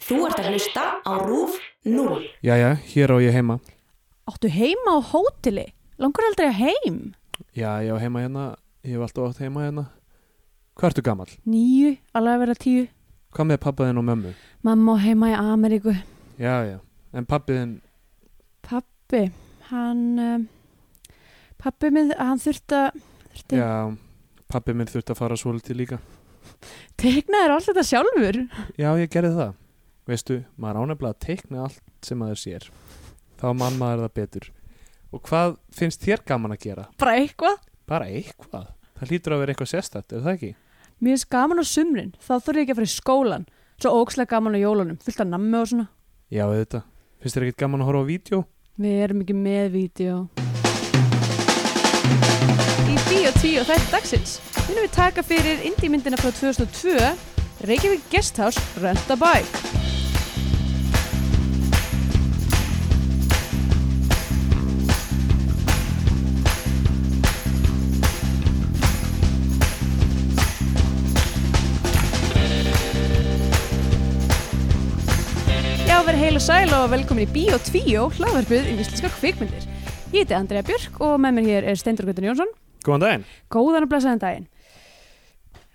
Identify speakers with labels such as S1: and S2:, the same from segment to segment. S1: Þú ert að hlusta á RÚF 0.
S2: Jæja, hér á ég heima.
S3: Áttu heima á hóteli? Langur aldrei heim?
S2: Já, ég á heima hérna. Ég hef alltaf átt heima hérna. Hvað ertu gammal?
S3: Nýju, alveg að vera tíu.
S2: Hvað með pappaðinn og mömmu?
S3: Mamma á heima í Ameríku.
S2: Já, já. En pappiðinn,
S3: Pappi, hann... Um, pappi minn, hann þurfti að... Þurfti að...
S2: já, pappið minn þurfti að fara svolítið líka.
S3: Tegnaður allt þetta sjálfur?
S2: Já, ég gerði það. Veistu, maður ánefnilega að teikna allt sem maður sér. Þá mann maður það betur. Og hvað finnst þér gaman að gera?
S3: Bara eitthvað?
S2: Bara eitthvað. Það hlýtur að vera eitthvað sérstætt, er það ekki?
S3: Mér finnst gaman á sumrin. Þá þurfti ég ekki að fara í skólan. Svo ókslega gaman á jólunum. Fullt af nammi og svona.
S2: Já, auðvitað. Finnst þér ekkert gaman að horfa á vídeo?
S3: Við erum ekki með vídeo. Í Bíó 10 þætt dagsins finnum við taka fyrir indímyndina frá 2002 Reykjavík Guesthouse Rent a Bike. Já, verið heil og sæl og velkomin í Bíó 2 hlaðverfið í íslenska kvikmyndir. Ég heiti Andrea Björk og með mér hér er Steindur Guðun Jónsson.
S2: Góðan daginn.
S3: Góðan og blessaðan daginn.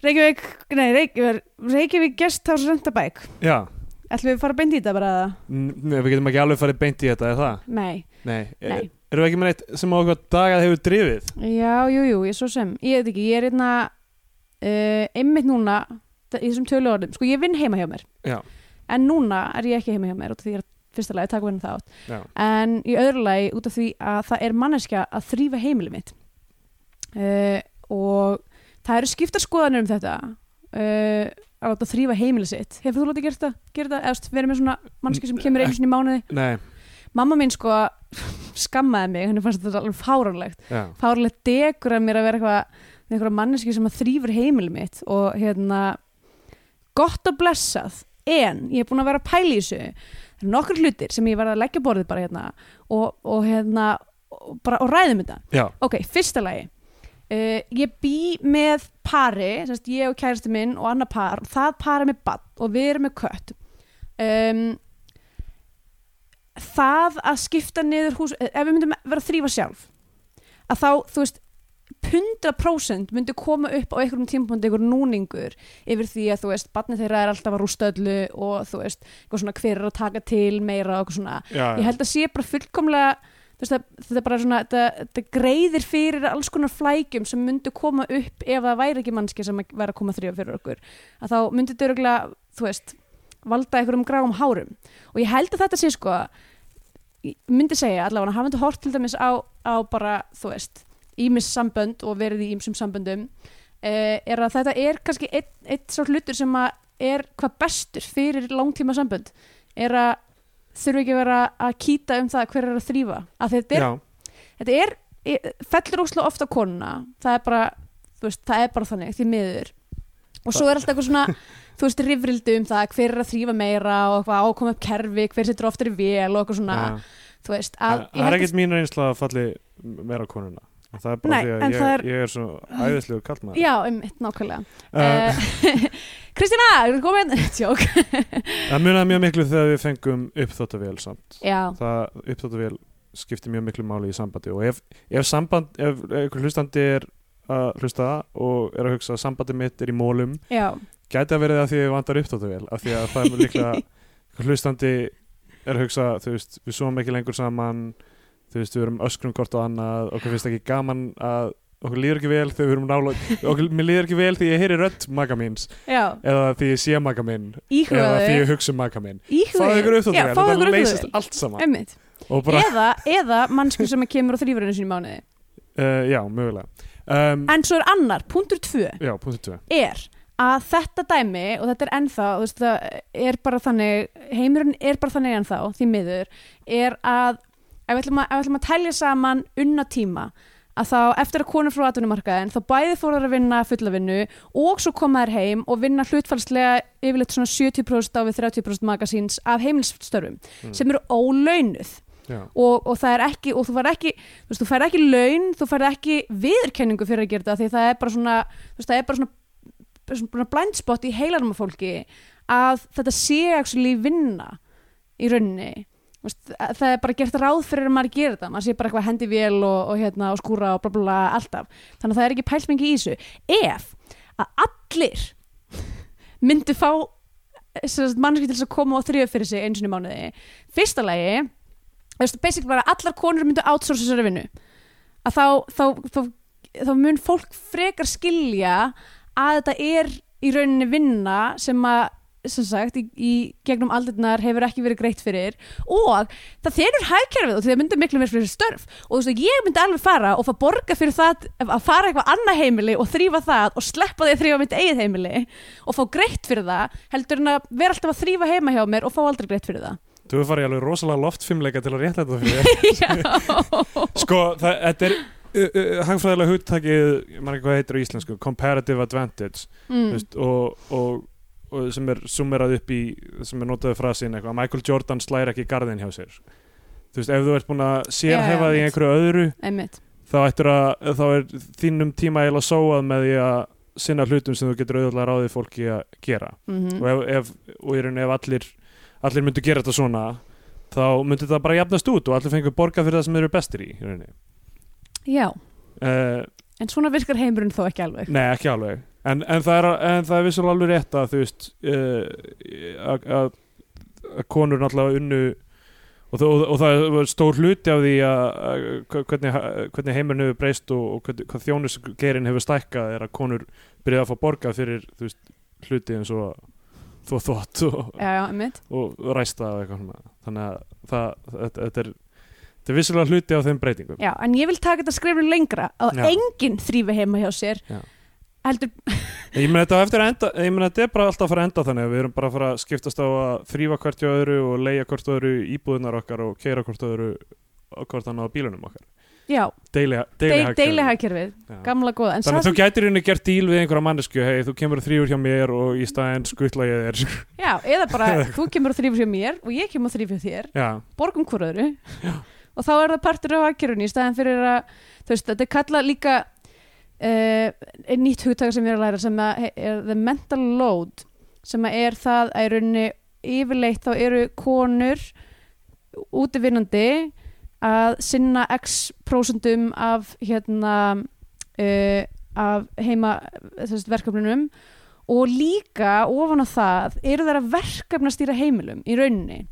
S3: Reykjavík, nei, Reykjavík, Reykjavík Guesthouse Rent a Bike.
S2: Já,
S3: Ætlum við að fara að beinta í þetta bara?
S2: N við getum ekki alveg farið beint í þetta, er það?
S3: Nei.
S2: Nei,
S3: Nei.
S2: Nei. erum við ekki með neitt sem á okkur dagað hefur drifið?
S3: Já, jú, jú, ég svo sem. Ég veit ekki, ég er einna uh, einmitt núna þa- í þessum tölu orðum. Sko, ég vinn heima hjá mér.
S2: Já.
S3: En núna er ég ekki heima hjá mér út af því ég er fyrsta lagi að taka hvernig það átt.
S2: Já.
S3: En í öðru lagi út af því að það er manneskja að þrýfa heimilið mitt. Uh, og það eru skipta skoðanir um þetta. Uh, að láta þrýfa heimilið sitt. Hefur þú látið gert það? Gert það? Eða þú veist, verið með svona manneskja sem kemur einu sinni í mánuði?
S2: Nei,
S3: Mamma mín sko skammaði mig, henni fannst þetta alveg fáránlegt
S2: já,
S3: fárlega degur að mér að vera eitthvað með eitthvað manneski sem að þrýfur heimil mitt og hérna gott og blessað en ég er búin að vera að pæla í þessu það eru nokkur hlutir sem ég verði að leggja á borðið bara hérna og, og hérna og, bara, og ræðum þetta
S2: já,
S3: ok, fyrsta lagi uh, ég bý með pari sérst, ég og kæristi minn og annar par það par er með bann og við erum með kött um, það að skipta niður hús eh, ef við myndum vera að þrýfa sjálf að þá, þú veist 100% myndi koma upp á einhverjum tímpúndi einhver núningur yfir því að þú veist, barnið þeirra er alltaf að rústa öllu og þú veist, eitthvað svona hver er að taka til meira og eitthvað svona
S2: já,
S3: ég
S2: já,
S3: held að sé bara fullkomlega þú veist, það- þetta er bara svona þetta, þetta greiðir fyrir alls konar flækjum sem myndu koma upp ef það væri ekki mannski sem að vera að koma þrjóð fyrir okkur að þá myndi þetta örgulega, þú veist valda einhverjum gráum hárum og ég held að þetta sé sko ég myndi segja allavega, hafandi hort til dæmis á, á bara, þú veist ímis sambönd og verið í ímsum samböndum eh, er að þetta er kannski eitt, eitt sá hlutur sem að er hvað bestur fyrir langtíma sambönd er að þurfi ekki að vera að kýta um það hver er að þrýfa að þetta er,
S2: já,
S3: þetta er e- fellur óslega ofta konuna það er bara, þú veist, það er bara þannig því miður og svo er alltaf eitthvað svona þú veist, rifrildi um það hver er að þrýfa meira og hvað ákoma upp kerfi hver setur oftar í vel og eitthvað svona
S2: já.
S3: þú veist,
S2: Það
S3: að
S2: það er ekkert mín reynsla að falli meira á konuna. En Það er bara
S3: Nei,
S2: því
S3: en
S2: að ég
S3: það
S2: er,
S3: er-
S2: ég er svo æðislega kallt maður.
S3: já, um mitt nákvæmlega
S2: Uh,
S3: uh, Kristina, er þú komin? tjók,
S2: það munaði mjög miklu þegar við fengum uppþóttavél samt.
S3: já,
S2: Það uppþóttavél skipti mjög miklu máli í sambandi og ef, ef samband, ef einhver hlustandi er að hlusta og er að hugsa að sambandi mitt er í mólum,
S3: já
S2: gæti að verið að því að ég vantar uppþóttavél, af því að það er líklega einhver hlustandi er að hugsa, þú veist, við svoum ekki lengur saman þú veist, við erum öskrum hvort og annað okkur finnst ekki gaman að okkur líður ekki vel þegar við erum nála okkur, mér líður ekki vel því ég heyri rödd maka míns
S3: já,
S2: eða því ég sé maka minn eða því
S3: íhugaðu
S2: ég hugsa um maka minn fáðu ykkur
S3: íhugaðu, já,
S2: uppþóttavél,
S3: fáðu ykkur
S2: þetta
S3: uppþóttavél
S2: leysist allt saman
S3: einmitt
S2: og bara,
S3: eða, eða mannsku sem kemur og þrýfur henni sinni í mánuði
S2: uh, já, mögulega um,
S3: en svo er annar, punktur 2
S2: já, punktu 2
S3: er að þetta dæmi og þetta er ennþá þú veist, það er bara þannig heimurinn er bara þannig ennþá, því miður er að ef við ætlum að, ef við ætlum að telja saman unna tíma að þá eftir að konur frá atvinnumarkaðin þá bæði fóru að vinna fullavinnu og svo koma þær heim og vinna hlutfalslega yfirleitt svona 70% á við 30% magasíns af heimilsstörfum
S2: Mm.
S3: sem eru ólaunuð
S2: já,
S3: og, og það er ekki og þú fær ekki, þú veist, þú fær ekki laun þú fær ekki viðurkenningu fyrir að gera þetta því það er bara svona, þú veist, það er bara svona svona blindspot í heilanum af fólki að þetta sé actually vinna í rauninni Þú veist, að- það er bara gert ráð fyrir að maður gerir þetta maður sé bara eitthvað hendi vél og, og, hérna, og skúra og bla bla bla alltaf þannig að það er ekki pælsmengi í þessu ef að allir myndu fá eh, mannski til þess að koma og þrjöf fyrir sig eins og mánuði fyrsta lagi þú veist, basic bara allar konur myndu outsource þessari vinnu að þá, þá, þá, þá mun fólk frekar skilja að þetta er í rauninni vinna sem að sem sagt, í, í gegnum aldirnar hefur ekki verið greitt fyrir og það þenur hægkerfið og því það myndir miklu mér fyrir störf og þú veist, ég myndi alveg fara og fá borga fyrir það að fara eitthvað annað heimili og þrýfa það og sleppa því að þrýfa mitt eigið heimili og fá greitt fyrir það heldur en að vera alltaf að þrýfa heima hjá mér og fá aldrei greitt fyrir það
S2: Þú hefur farið í alveg rosalega loftfimleika til að rétta þetta fyrir þér.
S3: Já,
S2: Sko, það, þetta er uh, uh, hagfræðilega hugtakið, ég man ekki hvað það heitir á íslensku, comparative advantage mm.
S3: mm.
S2: veist, og, og, og sem er summerað upp í, sem er notaði frasin eitthvað, Michael Jordan slæri ekki garðin hjá sér. Þú veist, ef þú ert búin að sérhæfa
S3: Já,
S2: þig í
S3: mitt.
S2: einhverju öðru,
S3: einmitt
S2: þá, ættir að, þá er þínum tíma eiginlega sóað með því að sinna hlutum sem þú getur auðvitað ráðið fólki að gera
S3: mm
S2: og, ef, ef, og í rauninni ef allir, allir myndu gera þetta svona þá myndi það bara jafnast út og allir fengur borga fyrir það sem þeir eru bestir í, í rauninni.
S3: Já,
S2: uh,
S3: en svona virkar heimurinn þó ekki alveg
S2: Nei, ekki alveg en, en, það, er, en það er vissulega alveg rétt að þú veist uh, að- að að konur náttúrulega unnu og, þó, og, og það var stór hluti af því að, að hvernig, hvernig heimurinn hefur breyst og, og hvernig, hvað þjónusgerin hefur stækkað er að konur byrjaði að fá borgað fyrir þú veist, hluti eins og þó þótt og,
S3: Já, já, einmitt
S2: og ræsta og eitthvað svona þannig að það, þetta, þetta, er, þetta er vissulega hluti af þeim breytingum
S3: Já, en ég vil taka þetta skrifin lengra að
S2: Já.
S3: enginn þrýfi heima hjá sér
S2: Já.
S3: heldur,
S2: Ég meina þetta, á eftir að enda, ég meina þetta er bara alltaf að fara að enda þannig að við erum bara að fara að skiptast á að þrýfa hvert hjá öðru og leigja hvert öðru íbúðunar okkar og keira hvert öðru og hvort annað á bílunum okkar
S3: já,
S2: Deili, deili,
S3: deili, deili hagkerfið
S2: Já.
S3: gamla góða, en
S2: Þannig að
S3: það
S2: þú gætir henni gert díl við einhverja mannesku hei, þú kemur þrýfur hjá mér og í staðinn skuttla ég þér
S3: já, eða bara, þú kemur að þrýfi hjá mér og ég kemur að þrýfi hjá þér
S2: Já,
S3: borgum hver um öðru og þá er það partur af hagkerfinu í staðan fyrir að þú veist, þetta er kallað líka uh, nýtt hugtaka sem við erum að læra sem að er the mental load sem að er það að í rauninni yfirleitt þá eru konur útivinnandi að sinna x prósentum af hérna uh, af heima þess, verkefnunum og líka ofan á það eru þær að verkefna stýra heimilum í rauninni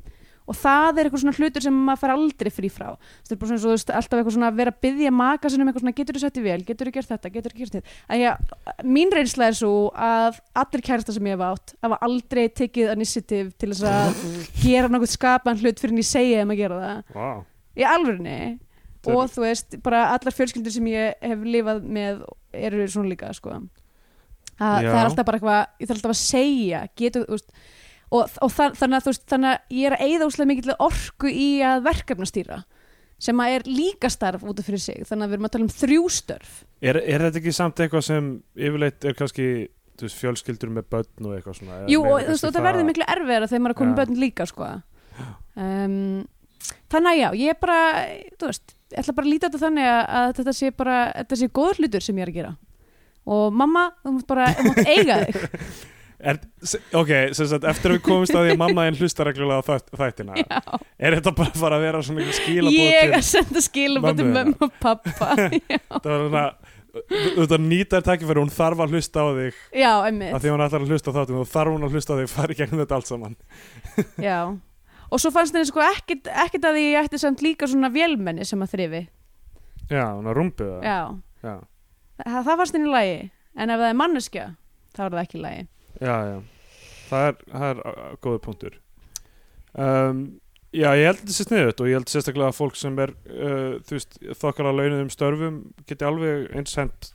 S3: og það er eitthvað svona hlutur sem maður fær aldrei frí frá það er bara svona, svo, þú veist, alltaf eitthvað svona að vera að byggja maka sinum eitthvað svona, getur þú sett í vel, getur þú gert þetta getur þú gert þetta, að ég, mín reynsla er svo að allir kærasta sem ég hef átt hafa aldrei tekið initiative til þess að gera nokkuð skapan hlut fyrir en ég segja þeim að gera það
S2: vá
S3: í alvörinni
S2: Þetta
S3: og þú veist, bara allar fjölskyldur sem ég hef lifað með eru svona líka sko. að
S2: Já.
S3: það er alltaf bara eitthvað ég þarf alltaf að segja getur, þú veist, og, og þa þannig, að, þú veist, þannig að ég er að eyða úslega mikill orku í að verkefnastýra sem að er líka starf út af fyrir sig þannig að við erum að tala um þrjú störf
S2: er, er þetta ekki samt eitthvað sem yfirleitt er kannski þú veist, fjölskyldur með börn og eitthvað svona
S3: Jú,
S2: Meira
S3: og þú veist,
S2: kannski
S3: og það verður miklu erfiðara þegar maður er komið
S2: Já.
S3: börn líka, sko. Um, þannig að já, ég er bara, þú veist, ég ætla bara að líta þetta þannig að, að þetta sé bara, þetta sé góður hlutur sem ég er að gera. Og mamma, þú mátt bara, þú mátt eiga þig.
S2: Er, s- ok, sem sagt, eftir að við komumst að því að mamma einn hlustar reglulega á þætt- þættina
S3: Já,
S2: er þetta bara að fara að vera svona einhver skilabóð
S3: ég
S2: til
S3: að senda skilabóð til
S2: mömmu
S3: mömmu og pappa. já,
S2: það var svona þú- þú þetta nýtar tækifæri, hún þarf að hlusta á þig
S3: já,
S2: af
S3: einmitt,
S2: því hún ætlar að hlusta á þáttum, þú þarf hún að hlusta á þig fara í gegnum þetta allt saman
S3: já. Og svo fannst henni sko ekkit, ekkit að ég ætti samt líka svona vélmenni sem að þrifi.
S2: já, hún að rumbu það
S3: Já,
S2: já,
S3: það, það fannst henni í lagi. En ef það er manneskja, þá er það ekki í lagi.
S2: já, já. það er, það er uh, uh, góður punktur um, já, ég held þetta sér sniðut og ég held sérstaklega að fólk sem er uh, þú veist, þokkar að launuðum störfum geti alveg eins hent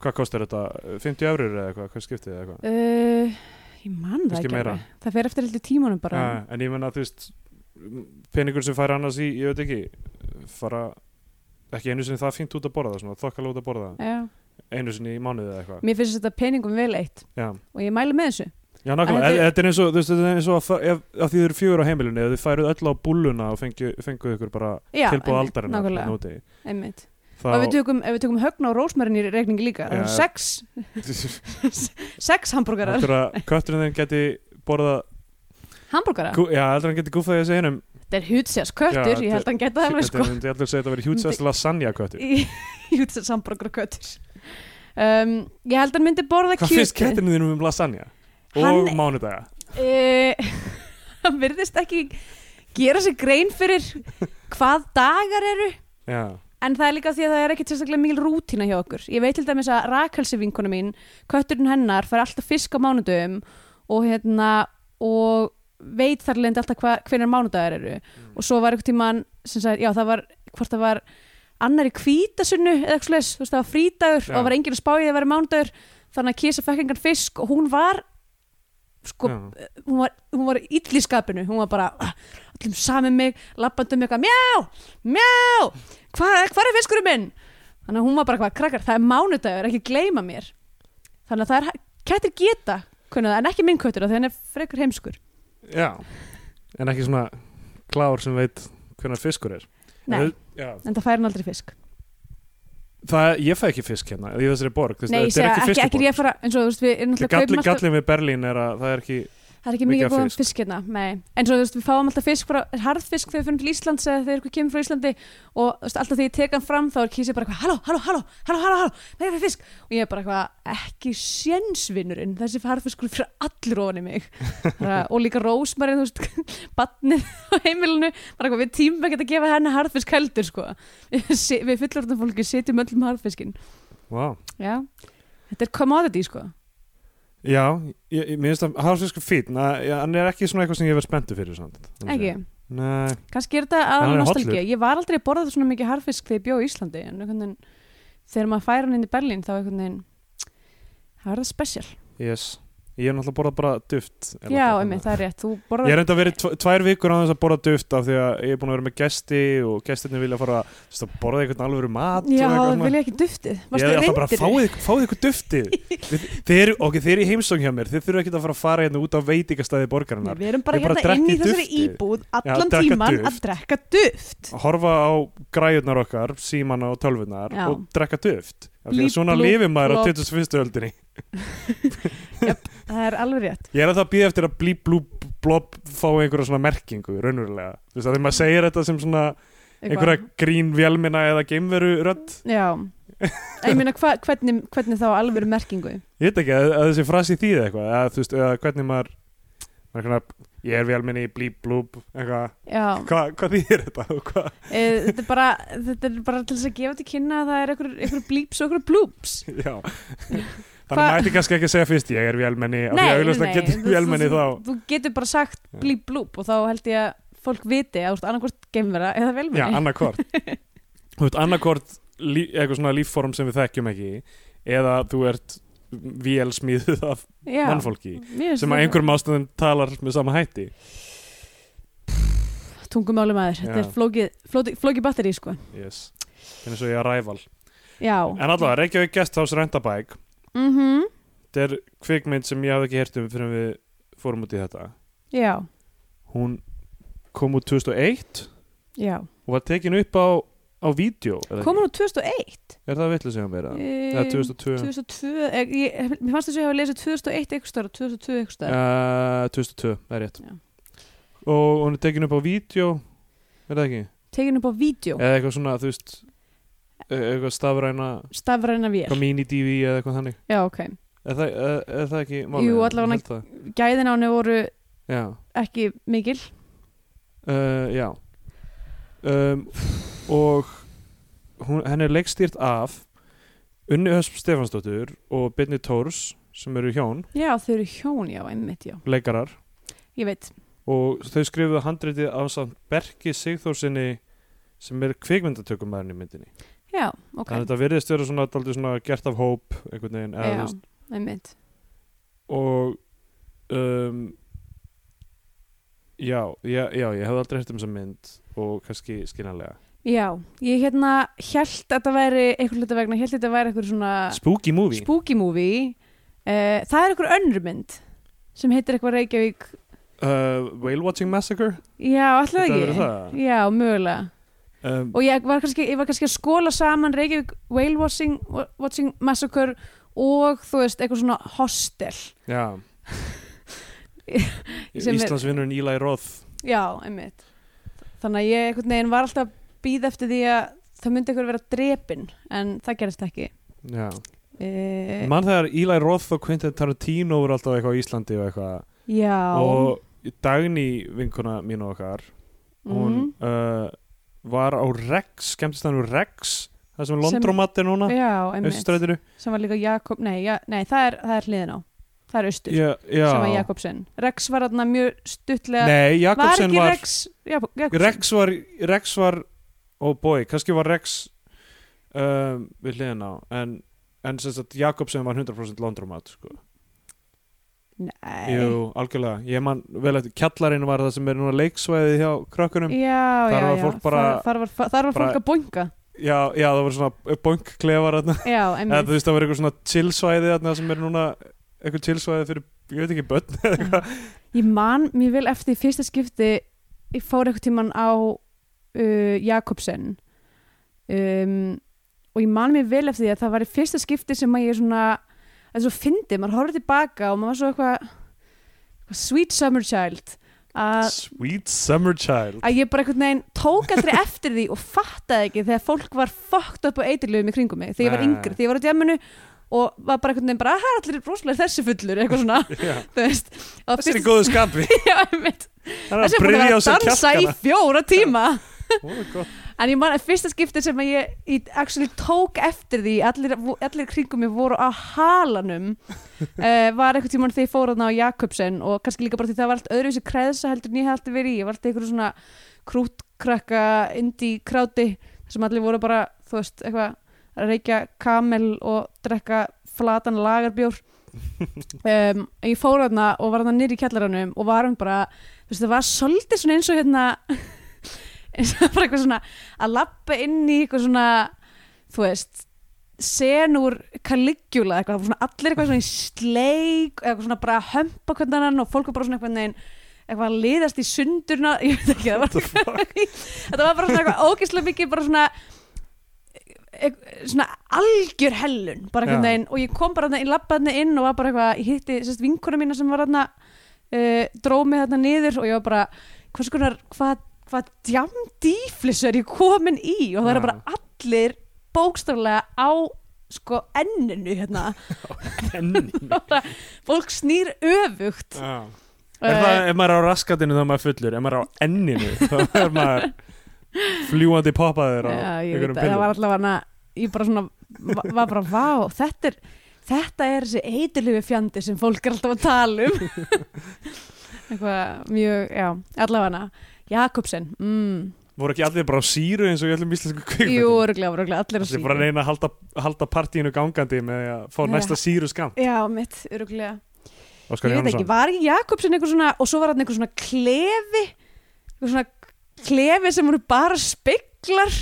S2: hvað kostar þetta, 50 eurur eða eitthvað hvað skiptið eða eitthvað
S3: Uh, ég man það
S2: Kannski
S3: ekki
S2: meira. Ah.
S3: alveg. Það fer eftir heldur tímanum bara.
S2: Já, en ég menna þú veist peningur sem fær annars í, ég veit ekki fara ekki einu sinni það fínt út að borða það svona, þokkala út að borða
S3: Já.
S2: það einu sinni í mánuði eða eitthvað
S3: Mér finnst þetta peningum vel eitt
S2: já,
S3: og ég mælu með þessu.
S2: já nákvæmlega,
S3: En
S2: þetta,
S3: þetta-
S2: þetta er eins og, þú veist, þetta er eins og að, fa- ef, að því þið eru fjögur á heimilinu ef þið færuð öll á búlluna og fengju, fenguð ykkur bara hérna
S3: Já,
S2: tilbúið
S3: einmitt,
S2: aldarinn
S3: nákvæmlega. Einmitt. og ef við tökum, ef við tökum högna og rósmærin í reikningi líka
S2: Já.
S3: ja. sex, sex hambúrgarar
S2: Heldur að kötturinn þeim geti borða
S3: hambúrgara,
S2: Já, heldur að hann geti gúfað í þessi hinum
S3: þetta er hútsjás
S2: Já,
S3: köttur,
S2: þetta-
S3: ég held að hann geta það
S2: Þetta
S3: alveg sko
S2: myndi allir segja þetta að vera hjútsast lasagna köttur
S3: hútsjás hambúrgara köttur um, ég held að hann myndi borða
S2: Hvað finnst
S3: kjötið.
S2: kettinu þínum um lasagna? Og
S3: Hann-
S2: mánudaga
S3: Eh, hann virðist ekki gera sér grein fyrir hvað dagar eru
S2: Já,
S3: en það er líka því að það er ekkit sérstaklega mikil rútína hjá okkur ég veit til dæmis að Rakelsi vinkona mín kötturinn hennar fær alltaf fisk á mánudöfum og hérna og veit þar lendi alltaf hva, hvernig mánudagar eru
S2: Mm.
S3: og svo var einhvern tímann sem sagði, já það var, hvort það var annar í kvítasunnu eða eitthvað slags, þú veist það var frídagur
S2: Já.
S3: og það var enginn að spá í því að það væri mánudagur þannig að kísa fekk engan fisk og hún var sko,
S2: já.
S3: hún var, hún var ill í skapinu hún var bara "Ah, allir saman mig lappandum eitthvað mjá, mjá hvað hva er fiskurinn minn þannig að hún var bara hvað krakkar, það er mánudagur, ekki gleyma mér þannig að það er, kettir geta kunnað, en ekki minn köttur af því hann er frekur heimskur
S2: já En ekki svona klár sem veit hvernig fiskur er
S3: Nei,
S2: En, já,
S3: en það fær hann aldrei fisk
S2: það, Ég fæ ekki fisk hérna í þessari borg þess-
S3: Nei, ég
S2: Þetta
S3: segi
S2: er
S3: að ekki, ekki
S2: fiskborg.
S3: ég fara eins og þú veist, við erum alltaf
S2: Galli, gallin við Berlín er að það er ekki
S3: það er ekki
S2: mikið
S3: mikið
S2: af
S3: góðan
S2: fisk.
S3: fisk hérna nei. en svo þú veist, við fáum alltaf fisk bara harðfisk þegar við fyrir til Íslands eða þegar ykkur kemur frá Íslandi og þú veist, alltaf þegar ég tek hann fram þá er kísið bara eitthvað halló, halló, halló, halló, halló, halló, með fyrir fisk og ég er bara eitthvað ekki sjensvinnurinn þessi harðfiskur fyrir allur ofan í mig bara, og líka rósmarinn, þú veist batnið á heimilinu bara eitthvað við tímum ekki að gefa henni harðfisk heldur sko. Se- við fullorðnum fólki setjum öllum harðfiskin
S2: wow.
S3: já, þetta er commodity sko.
S2: Já, ég, ég, mér finnst að harfiskur fín að- já, Hann er ekki svona eitthvað sem ég verð spenntu fyrir samt, þannig
S3: ekki
S2: séð. Nei,
S3: kannski er þetta
S2: hann
S3: aðal
S2: er
S3: nostalgía
S2: hollur.
S3: ég var aldrei að borða svona mikið harfisk þegar ég bjó í Íslandi en einhvern veginn þegar maður fær hann inn í Berlín þá einhvern veginn það var það special
S2: yes Ég er náttúrulega borðað bara duft er
S3: já,
S2: náttúrulega
S3: emmi,
S2: þannig.
S3: það er rétt þú
S2: Ég
S3: borðar
S2: er enda verið tv tvær vikur á þess að borða duft af því að ég er búin að vera með gesti og gestirni vilja fara að, þú veist, að borða einhvern alvöru mat og
S3: já,
S2: eitthvað
S3: það
S2: svona.
S3: vil ég ekki duftið
S2: Ég
S3: varstu
S2: er alltaf bara
S3: reyndir
S2: fáið, ykkur- fáið ykkur duftið Þið- Þið eru, ok, þið eru í heimsóng hjá mér Þið þurfa ekki að fara að fara hérna út á veitingastæði borgarinnar
S3: við erum
S2: Ég
S3: bara,
S2: bara
S3: hérna inn í
S2: drekk í
S3: þessari
S2: duftið.
S3: íbúð
S2: Já,
S3: allan
S2: drekka
S3: tíman
S2: duft.
S3: að drekka duft
S2: Horfa á græjurnar okkar, símana og tölvunar
S3: Já.
S2: og drekka duft Af því
S3: Blíp,
S2: að Svona
S3: blúp,
S2: lifir maður á
S3: blop.
S2: 21. öldinni
S3: það er alveg rétt
S2: Ég er alltaf að býða eftir að blí, blú, blob fá einhverja svona merkingu, raunverulega Þú veist að þegar maður segir þetta sem svona einhverja
S3: Eitthvað.
S2: grín vélmina eða geimveru rödd
S3: já En ég meina hva, hvernig, hvernig þá alveg merkingu
S2: Ég veit ekki að, að þessi frasi þýði eitthvað að, þú veist, eða hvernig maður, maður svona, ég er vélminni, blíp, blúb eitthvað,
S3: já
S2: Hva, hvað þýðir þetta? og Hvað?
S3: Eh, þetta, er bara, þetta er bara til þess að gefa til kynna að það er einhver, einhver blíps og einhver blúps
S2: Já Þannig
S3: Hva-
S2: mætti kannski ekki að segja fyrst ég er vélmenni af því
S3: Nei,
S2: að auðvitað
S3: nei,
S2: getur
S3: þú-
S2: vélmenni
S3: þú-
S2: þá
S3: Þú getur bara sagt
S2: Já.
S3: blíp blúp og þá held ég að fólk viti að þú ert annarkvort geimvera eða
S2: Já,
S3: velmenni
S2: annarkort Þú veit, annarkort lí, eitthvað svona líffórum sem við þekkjum ekki eða þú ert vélsmíðuð af
S3: Já,
S2: mannfólki
S3: Mér finnst
S2: sem að
S3: þetta-
S2: einhverjum ástæðum talar með sama hætti
S3: Tungumáli maður, þetta
S2: Já.
S3: er flókið flókið flóki batteri sko
S2: yes. Þannig svo ég að ræval
S3: Já,
S2: En allavega, Reykjavík Guesthouse Rentabæk
S3: mm
S2: Þetta er kvikmynd sem ég hafði ekki heyrt um fyrir við fórum út í þetta
S3: já,
S2: Hún kom út 2001
S3: já
S2: og var tekin upp á, á vídeo er, það
S3: Komur nú 2001
S2: ekki? er það vitlega sem vera?
S3: Eh,
S2: Eða 2002
S3: 2002, eh, ég, mér fannst þess að ég hafa lesið 2001 eitthvað störa, 2002 eitthvað
S2: Eh,
S3: störa
S2: 2002, það er rétt
S3: Já.
S2: og hún er tekin upp á vídeo er það ekki?
S3: Tekin upp á vídeo,
S2: eða eitthvað svona, þú veist e- eitthvað stafræna,
S3: stafræna vél
S2: eitthvað mini-DV eða eitthvað þannig
S3: Já, ok,
S2: er það, er, er það ekki málið?
S3: Jú,
S2: Ég
S3: allavega
S2: held það.
S3: gæðin á henni voru
S2: já,
S3: ekki mikil
S2: uh, já. Um, og hún, henni er leikstýrt af Unni Hösp Stefansdóttur og Byrni Tórs sem eru hjón,
S3: Já, þau eru hjón, já, einmitt, já
S2: leikarar
S3: Ég veit,
S2: og þau skrifuðu handritið á samt Berki Sigþórsinni sem er kvikmyndatökumæðurinn í myndinni
S3: já, ok
S2: þannig að þetta virðist vera svona, dálítið svona gert af hóp einhvern veginn eða, þú
S3: Já,
S2: veist,
S3: einmitt
S2: og um, já, já, já ég hefði aldrei hægt um þessa mynd og kannski skiljanlega
S3: Já, ég hérna held að þetta væri einhver hluta vegna, held að þetta væri einhver svona
S2: Spooky Movie
S3: spooky movie uh, Það er einhver önnur mynd sem heitir eitthvað Reykjavík
S2: uh, Whale Watching Massacre
S3: Já, alltaf
S2: Þetta
S3: ekki
S2: verður það?
S3: Já, mögulega
S2: um,
S3: og ég var kannski, ég var kannski að skóla saman Reykjavík Whale Watching, watching Massacre og þú veist, eitthvað svona hostel
S2: Já
S3: Sem er-
S2: Íslandsvinnurinn Eli Roth
S3: já, einmitt þannig að ég einhvern veginn var alltaf býð eftir því að það myndi eitthvað vera drepin en það gerist ekki
S2: Já
S3: e,
S2: Mann þegar Eli Roth og Quentin Tarantino voru alltaf eitthvað á Íslandi og eitthvað
S3: já
S2: og Dagný vinkuna mín og okkar hún
S3: mhm,
S2: uh, var á Rex skemmtistæðan úr Rex það sem er
S3: Sem-
S2: Londromat er núna
S3: Mhm. já, einmitt,
S2: austræðinu
S3: sem var líka Jakob nei, ja, nei það, er, það er hliðin á það er austur,
S2: Já,
S3: sem var
S2: já.
S3: Jakobsen Rex var þarna mjög stuttlega
S2: Nei,
S3: var
S2: Jakobsen
S3: ekki
S2: var
S3: Rex Jakob, Jakobsen
S2: Rex var Rex var oh boy, kannski var Rex um, við hliðin á en, en sem sagt Jakobsen var 100% Londromat sko.
S3: nei
S2: Jú, algjörlega, ég man vel eftir kjallarinn var það sem er núna leiksvæði hjá krökkunum
S3: já,
S2: Þar
S3: já,
S2: var
S3: já.
S2: fólk bara-
S3: þar, þar var, þar var
S2: bara-
S3: fólk að boinga
S2: Já, já, það voru svona bönkkleifar þarna.
S3: já,
S2: eða þú
S3: einmitt
S2: veist, það voru eitthvað svona chillsvæði þarna sem er núna eitthvað chillsvæði fyrir, ég veit ekki, börn eða eitthvað
S3: ég man mjög vel eftir í fyrsta skipti ég fór eitthvað tíman á uh, Jakobsen um, og ég man mjög vel eftir því að það var í fyrsta skipti sem að ég svona að það er svo fyndið, maður horfði tilbaka og maður var svo eitthvað, eitthvað sweet summer child að
S2: Sweet Summer Child
S3: að ég bara einhvern veginn tók aldrei eftir því og fattaði ekki þegar fólk var fucked up og eitirlöfum í kringum mig þegar ég var
S2: Nei.
S3: yngri, þegar ég var á djemminu og var bara einhvern veginn bara, það er allir rosalega þessi fullur eitthvað svona,
S2: Já,
S3: þú veist Og
S2: Þessi er í
S3: fyrst-
S2: góðu skapi
S3: Já, einmitt.
S2: Það er að
S3: þessi er búin að
S2: bryðja á
S3: vera að
S2: sér
S3: dansa í
S2: kjarkana
S3: fjóra tíma
S2: Ó, gott.
S3: en ég man að fyrsta skipti sem að ég, ég actually tók eftir því allir, allir í kringum mig voru á halanum uh, var einhvern tímann þegar ég fór þarna á Jakobsen og kannski líka bara því það var allt öðruvísi kreðsa heldur en ég hef alltaf verið í ég var alltaf einhverju svona krútkrakka indie kráti þar sem allir voru bara þú veist eitthvað að reykja kamel og drekka flatan lagarbjór um, ég fór þarna og var þarna nýri í kjallaranum og varum bara þú veist það var svolítið svona eins og hérna eins og bara eitthvað svona að lappa inn í eitthvað svona þú veist senur Caligula eitthvað, það voru svona allir eitthvað svona í sleik eða eitthvað svona bara að hömpa hvernig annan og fólk var bara svona eitthvað neginn eitthvað að liðast í sundurna ég veit ekki, það var þetta var bara svona eitthvað ógeðslega mikið bara svona e- svona algjör hellun bara einhvern
S2: Já.
S3: veginn og ég kom bara þarna, ég labbaði þarna inn og var bara eitthvað, ég hitti sérst vinkona mína sem var þarna uh, dróð mig þarna niður og ég var bara, hvers konar hvað, hvað djamdíflis er ég komin í og það
S2: Já.
S3: eru bara allir bókstaflega á sko enninu hérna bara, fólk snýr öfugt
S2: Já. Er
S3: Eh.
S2: það, ef maður er á raskatinu þá er maður fullur Ef maður er á enninu þá er maður fljúandi poppaður á
S3: Já, ég veit
S2: einhverjum
S3: að það var
S2: pillum
S3: allavega hana, ég bara svona, va- var bara, vá, þetta er, þetta er þessi eitirlifi fjandi sem fólk er alltaf að tala um. Eitthvað mjög, já, allavega hana, Jakobsen, mm,
S2: Voru ekki allir bara á síru eins og í öllum íslensku kvikmyndum
S3: jú, öruglega, öruglega, allir að
S2: Það er bara að reyna að halda, halda partíinu gangandi með því að fá
S3: Nei,
S2: næsta síru skam
S3: Já, mitt, öruglega.
S2: Óskar
S3: ég veit ekki,
S2: Jónsson
S3: var ekki Jakobsen einhver svona, og svo var hann einhver svona klefi, einhver svona klefi sem voru bara speklar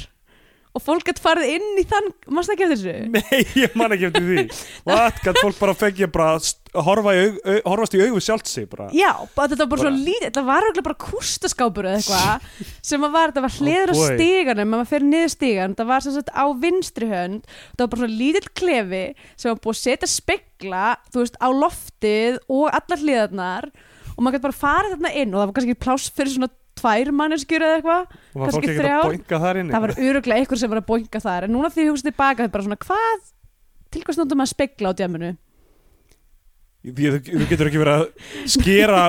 S3: og fólk gett farið inn í þann, mást ekki eftir þessu?
S2: Nei, ég man ekki eftir því What? Gat fólk bara fengið bara að st- horfa í aug, au, horfast í augu sjálft sig bara
S3: Já, bara þetta var bara,
S2: Bara-
S3: svo lítið, þetta var örugglega bara kústaskápur eða eitthvað sem að var, þetta var hliður á
S2: boy.
S3: stíganum, maður fyrir niður stígan, þetta var sem sagt á vinstri hönd, þetta var bara svona lítill klefi sem var búið að setja spekla, þú veist, á loftið og allar hliðarnar og maður gæti bara farið þarna inn og það var kannski pláss fyrir svona tvær manneskjur eða eitthvað,
S2: og var fólk
S3: kannski
S2: ekki að
S3: þrjár.
S2: boinga þar inni
S3: það var öruglega einhver sem var að boinga þar, en núna því ég hugsa tilbaka, þetta er bara svona hvað, til hvað stundum maður spekla á djamunu?
S2: Því að Þú þú getur ekki verið að skera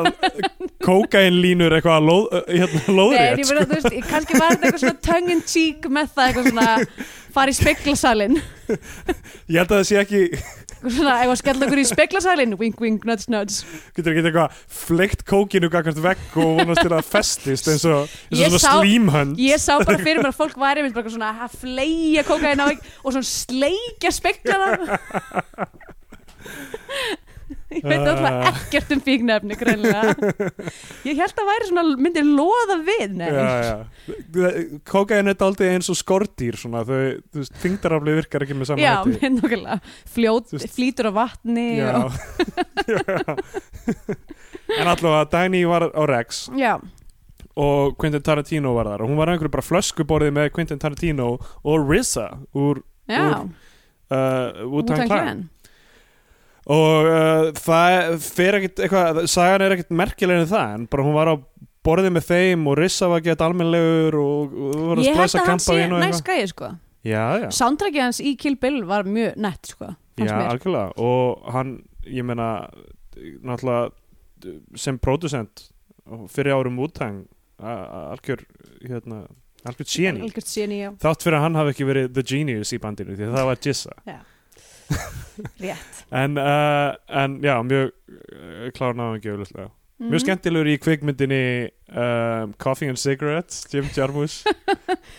S2: kókainlínur eitthvað að lóð, hérna,
S3: Nei, en
S2: lóðrétt
S3: ég meina, þú veist, ég- kannski var þetta eitthvað svona tongue in cheek með það eitthvað svona fara í speklasalinn
S2: Ég held að það sé ekki,
S3: eitthvað svona, eitthvað skella okkur í speklasalinn wink wink, nudge nudge
S2: getur ekki eitthvað fleikt kókinu gagvart vekk og vonast til að það festist eins og, eins
S3: Ég
S2: og svona
S3: sá-
S2: slímhönd
S3: ég sá bara fyrir mér að fólk væri einmitt bara eitthvað svona að fleia kókaðina og svona sleikja speklana ég
S2: Ah.
S3: veit alltaf ekkert um fíknefni greinlega ég held að væri svona myndi loða við nei.
S2: Já, já. Kókain er daldið eins og skordýr svona, þau, þú veist, þingdarafli virkar ekki með saman
S3: já, mér nokkulega fljót,
S2: Þú veist-
S3: flýtur á vatni
S2: Já.
S3: og,
S2: Já. En allavega Dagný var á Rex
S3: já,
S2: og Quentin Tarantino var þar og hún var á einhverju bara flöskuborði með Quentin Tarantino og RZA úr
S3: já,
S2: uh, Wu-Tang
S3: Wu-Tang
S2: Clan
S3: Clan.
S2: og uh, það fer ekkit eitthvað, sagan er ekkit merkilegri en það en bara hún var á borði með þeim og Rissa var að geta almennlegur og, og þú voru að
S3: ég held
S2: splæsa
S3: að hann
S2: kampa
S3: sé
S2: inn og
S3: næst
S2: eitthvað
S3: gæði sko
S2: já, já,
S3: soundtrackið hans í Kill Bill var mjög nett sko,
S2: já,
S3: fannst mér
S2: algjörlega og hann, ég meina náttúrulega sem producent fyrir árum útang algjör hérna, algjör geni
S3: algjört séni, já,
S2: þátt fyrir að hann hafi ekki verið the genius í bandinu því að það var Jissa
S3: rétt
S2: en, uh, en já, mjög uh, klár náðingi auðvitað
S3: mm.
S2: Mjög skemmtilegur í kvikmyndinni um, Coffee and Cigarettes, Jim Jarmusch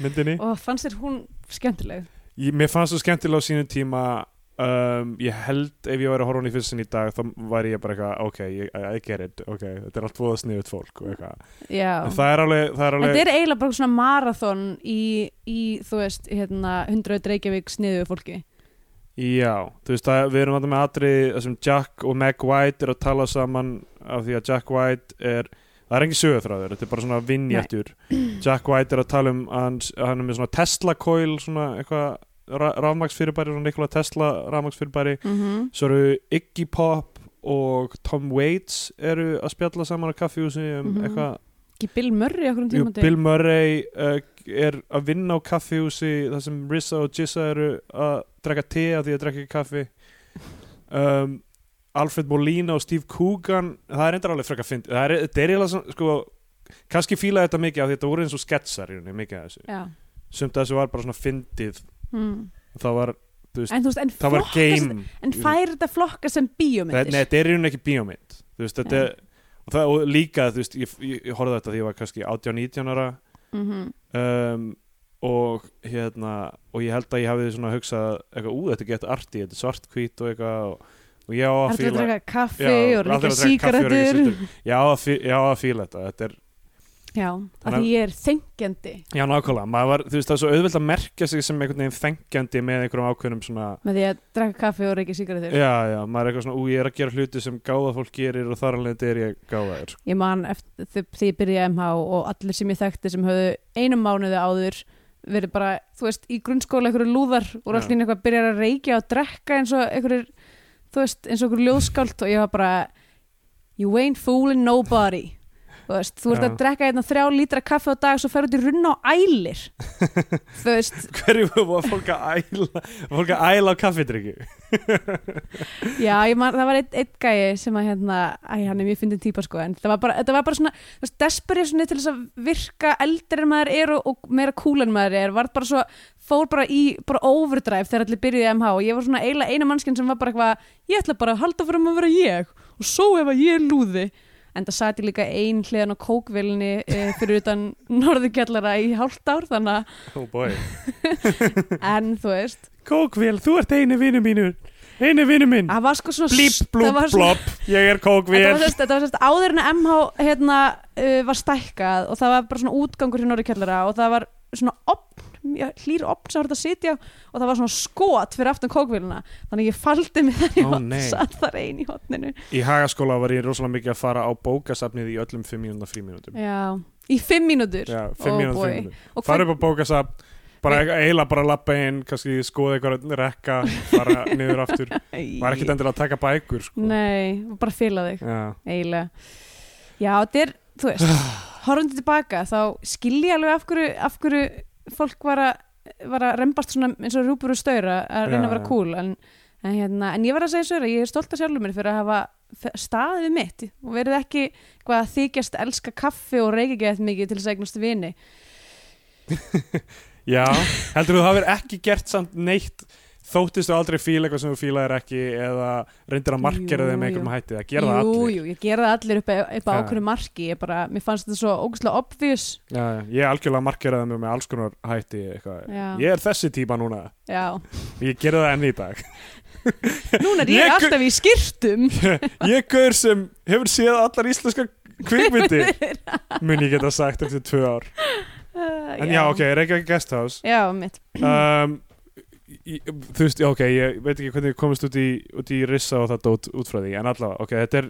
S2: myndinni.
S3: og fannst þér hún skemmtileg
S2: Ég, mér fannst þú skemmtilega á sínum tíma um, ég held ef ég væri að horfa hún í fyrstinn í dag þá væri ég bara eitthvað, ok, ég, I get it ok, þetta er allt voða sniðut fólk og eitthvað.
S3: já,
S2: En það er alveg, það er alveg
S3: þetta er eiginlega bara svona marathon í, í þú veist, hérna 100 Reykjavík sniðu fólki
S2: Já, þú veist að við erum að með atrið þar sem Jack og Meg White eru að tala saman af því að Jack White er það er engin sögurþráður, þetta er bara svona vinnjættur Jack White er að tala um að hann, að hann er með svona Tesla coil svona eitthvað rafmagsfyrirbæri svona Nikola Tesla rafmagsfyrirbæri
S3: mm -hmm.
S2: svo eru Iggy Pop og Tom Waits eru að spjalla saman á kaffihúsi um
S3: Mhm.
S2: eitthvað
S3: ekki Bill Murray okkur um
S2: Jú,
S3: tímandi
S2: Bill Murray uh, er að vinna á kaffihúsi þar sem Rissa og Jissa eru að drekka te af því að drekka ekki kaffi um, Alfred Molina og Steve Coogan það er endur alveg frekar fynd það er, þetta er eiginlega svona, sko kannski fílaði þetta mikið af því að þetta voru eins og sketsar í rauninni, mikið af þessu,
S3: já
S2: sumt af þessu var bara svona fyndið,
S3: mm.
S2: það var
S3: en þú veist, en,
S2: það var
S3: flokkast-
S2: game
S3: en fær þetta flokka sem
S2: það,
S3: bíómyndir
S2: nei, þetta er í rauninni ekki bíómynd þú veist, þetta
S3: Nei.
S2: er og, það, og líka, þú veist, ég, ég, ég horfði á þetta því ég var kannski 18-19 ára
S3: mm -hmm.
S2: um, og hérna og ég held að ég hafi svona hugsað eitthvað, ú, þetta gett arti, þetta er svart hvít og eitthvað og, og ég á að
S3: Allir að
S2: fíla
S3: draka kaffi
S2: Já,
S3: og
S2: allir að
S3: líka
S2: drekka kaffi og reykja
S3: síkaretur
S2: sígarettur. ég á að fí- ég á að fíla þetta, þetta er
S3: Já,
S2: Þannig
S3: að
S2: að-
S3: því ég er þengjandi
S2: já, nákvæmlega, maður var, þú veist, það er svo auðvelt að merkja sig sem einhvern veginn þengjandi með einhverjum ákveðnum svona
S3: með því að draka kaffi og reykja sigaretur
S2: já, já, maður er eitthvað svona, ú, ég er að gera hluti sem gáða fólk gerir og þar alveg er ég gáðaður
S3: Ég man eftir þeg- þegar ég byrjaði í MH og allir sem ég þekkti sem höfðu einum mánuði áður verið bara, þú veist, í grunnskóla einhverju lúðar
S2: Já.
S3: og allir einhverju byrjar að reykja og drekka eins og einhverju, þú veist, eins og einhverju ljóðskált og ég var bara You ain't fooling nobody Þú veist, þú ert
S2: Já.
S3: að drekka einna þrjá lítra kaffi á dag og svo ferðu út í runna á ælir Þú veist,
S2: hverju var fólk að æla fólk að æla á kaffidrykju
S3: Já, ég man, það var einn eitt gæi sem að hérna, æ, hann er mjög fyndin típa sko, en þetta var bara, þetta var bara svona, þú veist, desperation til þess að virka eldri en maður er og, og meira cool en maður er, var bara svo, fór bara í, bara overdrive þegar allir byrjuði í MH og ég var svona eiginlega eina mannskinn sem var bara eitthvað, ég ætla bara að halda fyrir að vera ég og svo ef að ég er lúði. En það sat ég líka ein hliðan á kókvillinni e, fyrir utan norðurkjallara í hálft ár, þannig
S2: oh boy
S3: að, en þú veist,
S2: Kókvél, þú ert eini vinnu mínur eini vinnu minn
S3: það var sko svona,
S2: blíp, blúp,
S3: það var svona-
S2: blop ég er
S3: Þetta var,
S2: kókvél
S3: sérst, þetta var sérst áður en að MH hérna, uh, var stækkað og það var bara svona útgangur hjá Norri Kjallara og það var svona opn, mjög hlýr opn sem var þetta að sitja á og það var svona skot fyrir aftan kókvíluna þannig að ég faldi mig þar í
S2: Ó,
S3: hotn
S2: nei.
S3: satt þar ein í hotninu
S2: í hagaskóla var ég rosalega mikið að fara á bókasafnið í öllum 5 mínúnda frímínútum
S3: Já, í fimm mínútur
S2: já, 5
S3: Ó,
S2: mínúnda
S3: boy.
S2: frímínútum
S3: og
S2: fara
S3: hvern,
S2: upp á bókasafn bara eila bara lappa inn kannski skoða eitthvað rekka fara niður aftur var ekkert endilega að taka bækur sko.
S3: Nei, og bara fíla þig
S2: Já.
S3: eiginlega Já, þetta er, þú veist, horfum tilbaka þá skil ég alveg af hverju, af hverju fólk var að, var að rembast svona eins og rúpur og staura að
S2: Já,
S3: reyna að vera
S2: já.
S3: cool en, en, hérna, en ég var að segja svo að ég er stolt að sjálfur mér fyrir að hafa f- staðið við mitt og verið ekki hvað að þykjast elska kaffi og reykja gett mikið til þess að eignast vini
S2: já, heldur þú það verið ekki gert samt neitt þóttist þú aldrei fíla eitthvað sem þú fílaðir ekki eða reyndir að markera
S3: Jú,
S2: þeim með
S3: jú.
S2: einhverjum hætti það gera það
S3: Jú,
S2: allir
S3: jú, ég gera það allir upp, upp á
S2: Já.
S3: ákveðnu marki ég bara, mér fannst þetta svo ógustlega obvious
S2: já, já. ég algjörlega markeraði mig með alls konar hætti eitthvað.
S3: Já.
S2: ég er þessi típa núna
S3: Já,
S2: ég gerði það enn í dag
S3: núna er ég,
S2: Ég-
S3: alltaf í skýrtum
S2: ég gaur sem hefur séð allar íslenska kvikmyndi mun ég geta sagt eftir tvö ár en já, ok, Reykjavík Guesthouse
S3: Já, mitt
S2: um, í- þú veist, já, ok ég veit ekki hvernig ég komist út í, út í rissa og þetta út, út frá því, en allavega, ok, þetta er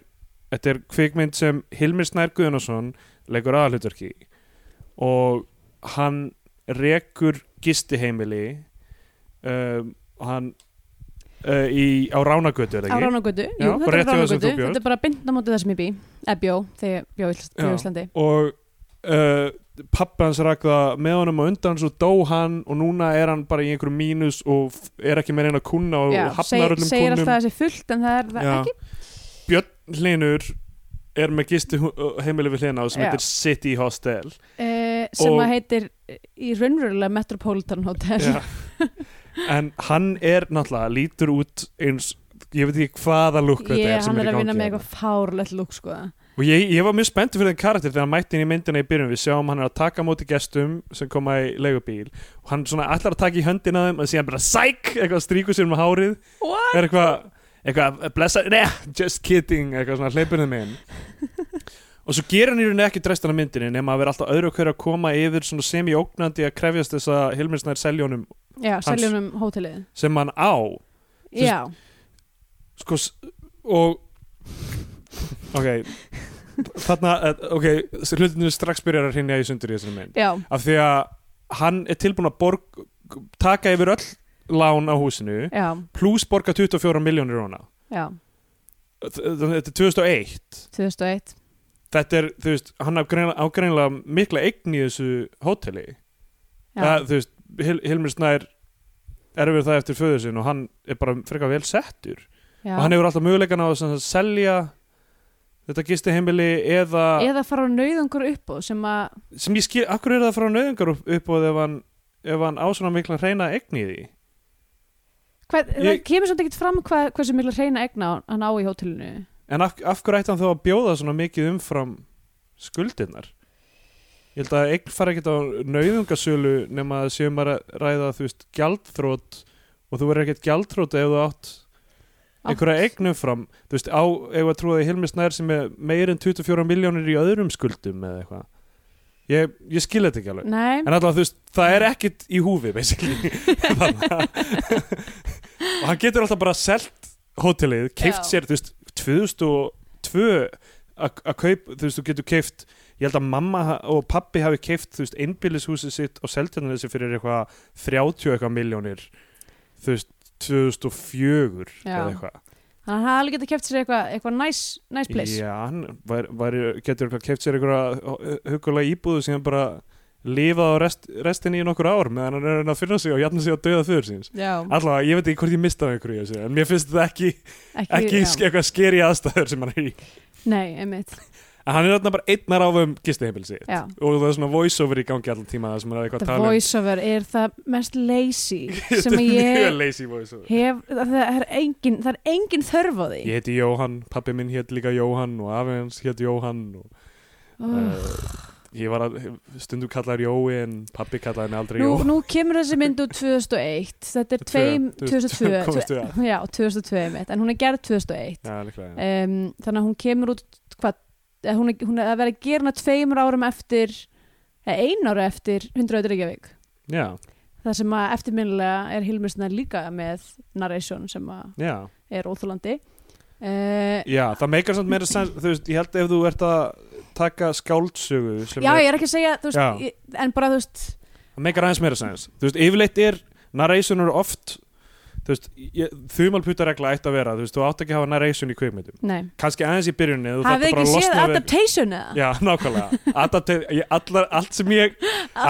S2: þetta er kvikmynd sem Hilmir Snær Guðunarsson leikur aðalhutverki í. og hann rekur gistiheimili um, hann uh, í, á Ránagötu er það
S3: á
S2: ekki? Já,
S3: Ránagötu, jú,
S2: bara rétt
S3: þetta er
S2: hjá þessum
S3: Ránagötu
S2: þú bjóst.
S3: þetta er bara bindna mótið það sem ég bý eða bjó, þegar ég bjó í Ísl- bjó í
S2: Já.
S3: Íslandi
S2: og uh, pappi hans rak það með honum og undan svo dó hann og núna er hann bara í einhverju mínus og f- er ekki með reyna kunna og
S3: Já,
S2: hafnar öllum
S3: segir alltaf
S2: kunnum
S3: þessi fullt en það er það
S2: Já.
S3: ekki
S2: Björn Hlinur er með gisti heimili við hlina sem
S3: Já.
S2: heitir City Hostel
S3: uh, sem
S2: Og-
S3: að heitir eh, í raunverulega Metropolitan Hotel
S2: Já. en hann er náttúrulega lítur út eins ég veit ekki hvaða lúk þetta
S3: ég,
S2: er sem er
S3: hann er
S2: í
S3: að vinna
S2: gangi
S3: með
S2: hérna.
S3: eitthvað fárlegt lúk sko
S2: og ég, ég var mjög spenntið fyrir þenn karakter þegar hann mætti inn í myndina í byrjun við sjáum hann er að taka á móti gestum sem koma í leigubíl og hann svona allar að taka í höndina á þeim og síðan bara sæk eitthvað stríku sér með hárið
S3: What?
S2: er eitthvað, eitthvað blessa, neð, just kidding eitthvað svona hleypinu minn og svo gerir hann í rauninni ekki drestan af myndinni nema að vera alltaf öðru hverju að koma yfir svona semi-ógnandi að krefjast þess að Hilmir Snær seljónum
S3: Já, seljum um hótelið
S2: sem hann á Þú
S3: Já,
S2: sko, s- og ok þarna, eh, ok hlutinu strax byrjar að hrinja í sundur í þessari mynd
S3: já,
S2: af því að hann er tilbúin að borg, taka yfir öll lán á húsinu
S3: já,
S2: pluss borga 24 miljónir róna
S3: já
S2: þetta er 2001
S3: 2001
S2: þetta er, þú veist, hann á greinilega- á greinlega mikla eign í þessu hóteli
S3: Já,
S2: það, þú veist, Hil Hilmir Snær er við það eftir föður sinn og hann er bara frekar vel settur
S3: já.
S2: og hann hefur alltaf mögulegan á að sem sagt selja þetta gisti heimili eða,
S3: eða fara á nauðungur upp og sem að
S2: sem ég skil, akkur er það frá nöðungar upp, upp og ef hann, ef hann á svona mikla hreina eign í því
S3: hvað, það
S2: Ég-
S3: kemur svolítið ekkert fram hvað, hversu mikla reyna egna hann á í hótelinu
S2: en af, af hverju ætti hann þá að bjóða svona mikið umfram skuldirnar ég held að eign fara ekkert á nöðungasölu nema að séum að ræ- ræða þú veist gjaldþrót og þú verður ekkert gjaldþrót ef þú átt einhverja eignum fram þú veist, á, ef að trúa því Hilmi Snær sem er meir en 24 miljónir í öðrum skuldum eða eitthvað ég, ég skil þetta ekki alveg
S3: Nei,
S2: en allavega þú veist, það er ekkit í húfi basically Þannig að- og hann getur alltaf bara selt hótelið, keift
S3: Já.
S2: sér þú veist, 2002 að að kaup, þú veist, þú getur keift ég held að mamma ha- og pappi hafi keift þú veist, einbýlishúsið sitt og seltjarnar þessi fyrir eitthvað 30 eitthvað miljónir þú veist, 2004
S3: Já.
S2: eða eitthvað
S3: hann hafði alveg getað keft sér eitthvað eitthva næs, næs place
S2: Já, hann var, var, getur eitthvað keft sér einhverja hugulega íbúðu sem bara lifað á rest, restinni í nokkur ár meðan hann er að reyna að finna sig og jafna sig að döða þauður síns.
S3: Já,
S2: Allavega, ég veit ekki hvort ég mistaði einhverju í þessu, en mér finnst þetta ekki,
S3: ekki,
S2: ekki
S3: já.
S2: sk- eitthvað skeri aðstæður sem hann er í.
S3: Nei, einmitt
S2: En hann er þarna bara einnar á um gistiheimilsi
S3: Já.
S2: og það er svona voice-over í gangi allan tíma það sem hann er eitthvað að
S3: The
S2: tala um.
S3: voiceover er það mest lazy sem að
S2: Mjög
S3: ég
S2: lazy voice-over.
S3: hef það er engin, það er engin þörf á því
S2: Ég heiti Jóhann, pappi minn hétt líka Jóhann og afi hans hétt Jóhann og
S3: oh.
S2: uh, ég var að stundu kallaður Jói en pappi kallaði mig aldrei
S3: nú,
S2: Jói
S3: nú kemur þessi mynd úr 2001 þetta er
S2: Tvö,
S3: tveim,
S2: 2002,
S3: 2002
S2: komumst við að.
S3: já, 2002 mitt, en hún er gerð 2001
S2: Já, líklega,
S3: um, þannig að hún kemur út hvað, eða hún er, hún er að vera að gera hana tveimur árum eftir eða einu ára eftir 100 öður Reykjavík
S2: já,
S3: það sem að eftirminnilega er Hilmur Snær líka með narration sem að
S2: já,
S3: er óþúlandi uh,
S2: já, það meikar samt meira sens, þú veist, ég held ef þú ert að taka skáldsögu sem
S3: Já,
S2: er,
S3: ég er ekki að segja, þú
S2: Já.
S3: veist, ég, en bara, þú veist,
S2: það meikar aðeins meira sens, þú veist, yfirleitt er narration eru oft þú veist, þumalputaregla ætti að vera þú veist, þú átt ekki að hafa narration í kvikmyndum
S3: nei.
S2: kannski aðeins í byrjunni, þú
S3: Hafið
S2: þarft
S3: þið
S2: að bara
S3: ekki séð
S2: losna við
S3: adaptation eða?
S2: Já, nákvæmlega Adapta- ég- allar, allt, sem ég,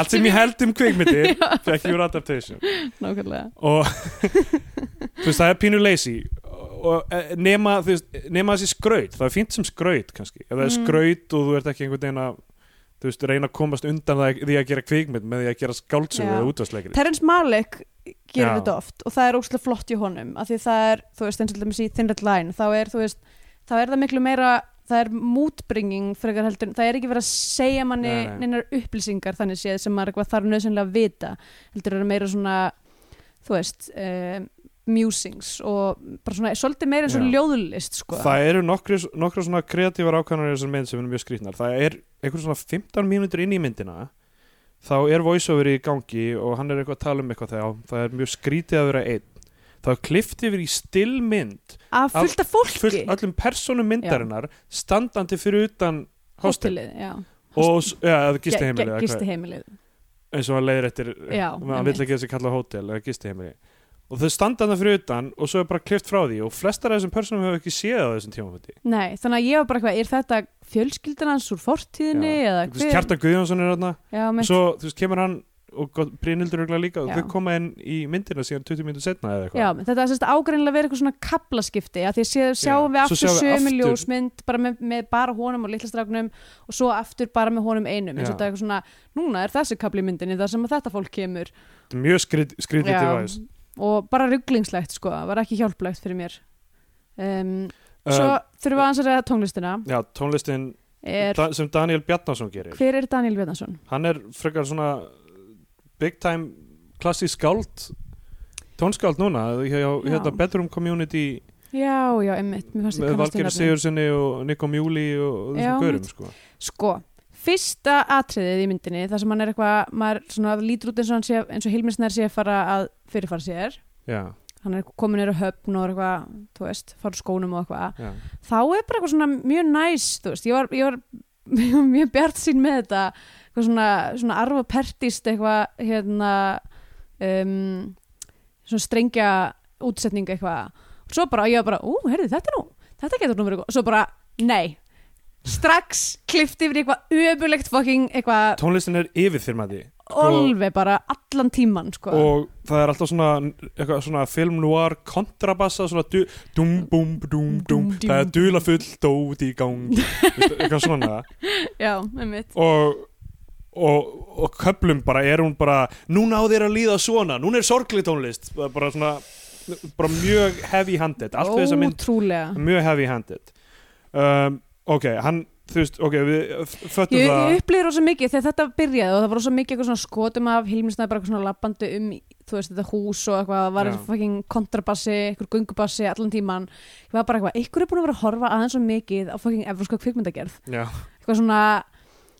S2: allt sem ég held um kvikmyndir fekk ég úr adaptation
S3: Nákvæmlega.
S2: og þú veist það er pínu lazy og eh, nema, þú veist, nema þessi skraut það er fínt sem skraut kannski ef það er
S3: Mm.
S2: skraut og þú ert ekki einhvern veginn að þú veist, reyna að komast undan það, því að gera kvikmynd með því að gera skáldsögu
S3: Já.
S2: eða útvarsleikri
S3: Terrence Malick gerir
S2: Já.
S3: þetta oft og það er óslega flott í honum af því það er, þú veist, eins og dæmis í Thin Red Line þá er, þú veist, þá er það miklu meira það er mútbringing frekar heldur en- það er ekki verið að segja manni
S2: Nei, nei.
S3: neinar upplýsingar þannig séð sem maður eitthvað þarf nöðsynlega að vita heldur er það meira svona þú veist, um, musings og bara svona, svolítið meira eins og
S2: Já.
S3: ljóðlist sko.
S2: það eru nokkru, nokkru svona kreatífar ákvæmur í þessar mynd sem er mjög skrýtnar það er einhver svona 15 mínútur inn í myndina þá er voiceover í gangi og hann er eitthvað að tala um eitthvað þegar það er mjög skrýtið að vera einn þá er klift yfir í stillmynd
S3: af fullt af fólki
S2: fullt öllum persónum myndarinnar standandi fyrir utan hóstel
S3: hóstelið, já
S2: og, s- já, eða gisti heimili
S3: gisti heimilið
S2: eins og hann leiðir eftir
S3: Já,
S2: hann vil
S3: einmitt.
S2: ekki þessi kalla hótel eða gisti heimili og þau standa þarna fyrir utan og svo er bara klift frá því og flestar af þessum personum hefur ekki séð á þessum tímafundi
S3: Nei, þannig að ég var bara eitthvað, er þetta fjölskyldan hans úr fortíðinni eða hver?
S2: Kjartan Guðjónsson er þarna
S3: Já,
S2: og
S3: mitt,
S2: svo þú veist, kemur hann og got- Brynhildur örugglega líka og
S3: Já.
S2: þau koma inn í myndina síðan 20 mínútur setna eða
S3: já
S2: eitthvað
S3: mitt, þetta er sérst ágreinlega verið eitthvað svona kaplaskipti að því að sé, sjáum við
S2: svo
S3: aftur
S2: sjáum við
S3: sömu
S2: aftur-
S3: ljósmynd bara með, með bara honum og litlastráknum og svo aftur bara með honum einum eins
S2: Já.
S3: og þetta er eitthvað svona, núna er þessi kapli í myndinni þar sem að þetta fólk kemur
S2: Þetta er mjög skrýt- skrýtið
S3: Já.
S2: device
S3: og bara rugglingslegt sko, var ekki hjálplegt fyrir mér um, Svo
S2: Um,
S3: þurfum við aðeins að reyða tónlistina
S2: Já, tónlistin
S3: er,
S2: da, sem Daniel Bjarnason gerir
S3: Hver er Daniel Bjarnason?
S2: hann er frekar svona big time klassísk skáld tónskáld núna hjá, hjá
S3: Já.
S2: hérna Bedroom Community
S3: Já, já, einmitt, mér
S2: með
S3: fannst ég kannast við
S2: Valgeri
S3: nafnið.
S2: Sigurssoni og Nico Mjúli og
S3: Já,
S2: þessum gaurum sko.
S3: Sko, fyrsta atriðið í myndinni þar sem hann er eitthvað, maður svona lítur út eins og, hann sé, eins og Hilmisnær sé að fara að fyrirfara sér,
S2: já,
S3: hann er komin er á höfn og er eitthvað, þú veist, fara úr skónum og eitthvað,
S2: já.
S3: þá er bara eitthvað svona mjög næs, þú veist, ég var, ég var ég var mjög bjart sín með þetta eitthvað svona, svona arfa pertist eitthvað hérna um, svona strengja útsetning eitthvað og svo bara, ég var bara, ú, heyrðu, þetta er nú þetta getur nú verið góð, svo bara, nei strax klift yfir í eitthvað öbulegt fucking eitthvað
S2: tónlistin er yfirþyrmandi
S3: olve bara allan tíman, sko
S2: og það er alltaf svona, eitthvað, svona film noir kontrabassa svona du, dum bum dum dum
S3: Dúm, dúm.
S2: það er dula full dót í gang veistu, eitthvað svona
S3: já, með mitt
S2: og og, og köplum bara er hún bara núna á þér að líða svona, núna er sorgli tónlist Það er bara svona bara mjög heavy handed allt við þess að mynd
S3: ótrúlega
S2: mjög heavy handed um, ok, hann þú veist, ok, við f- föttum
S3: Ég,
S2: það
S3: ég upplýði rosa mikið þegar þetta byrjaði og það var rosa mikið eitthvað svona skotum af Hilmisnæði bara eitthvað svona lappandi um þú veist þetta hús og eitthvað það var
S2: Já.
S3: fucking kontrabassi, eitthvað gungubassi allan tíman, ég var bara eitthvað, eitthvað er búin að vera að horfa aðeins svo mikið á fucking evróska kvikmyndagerð
S2: já,
S3: eitthvað svona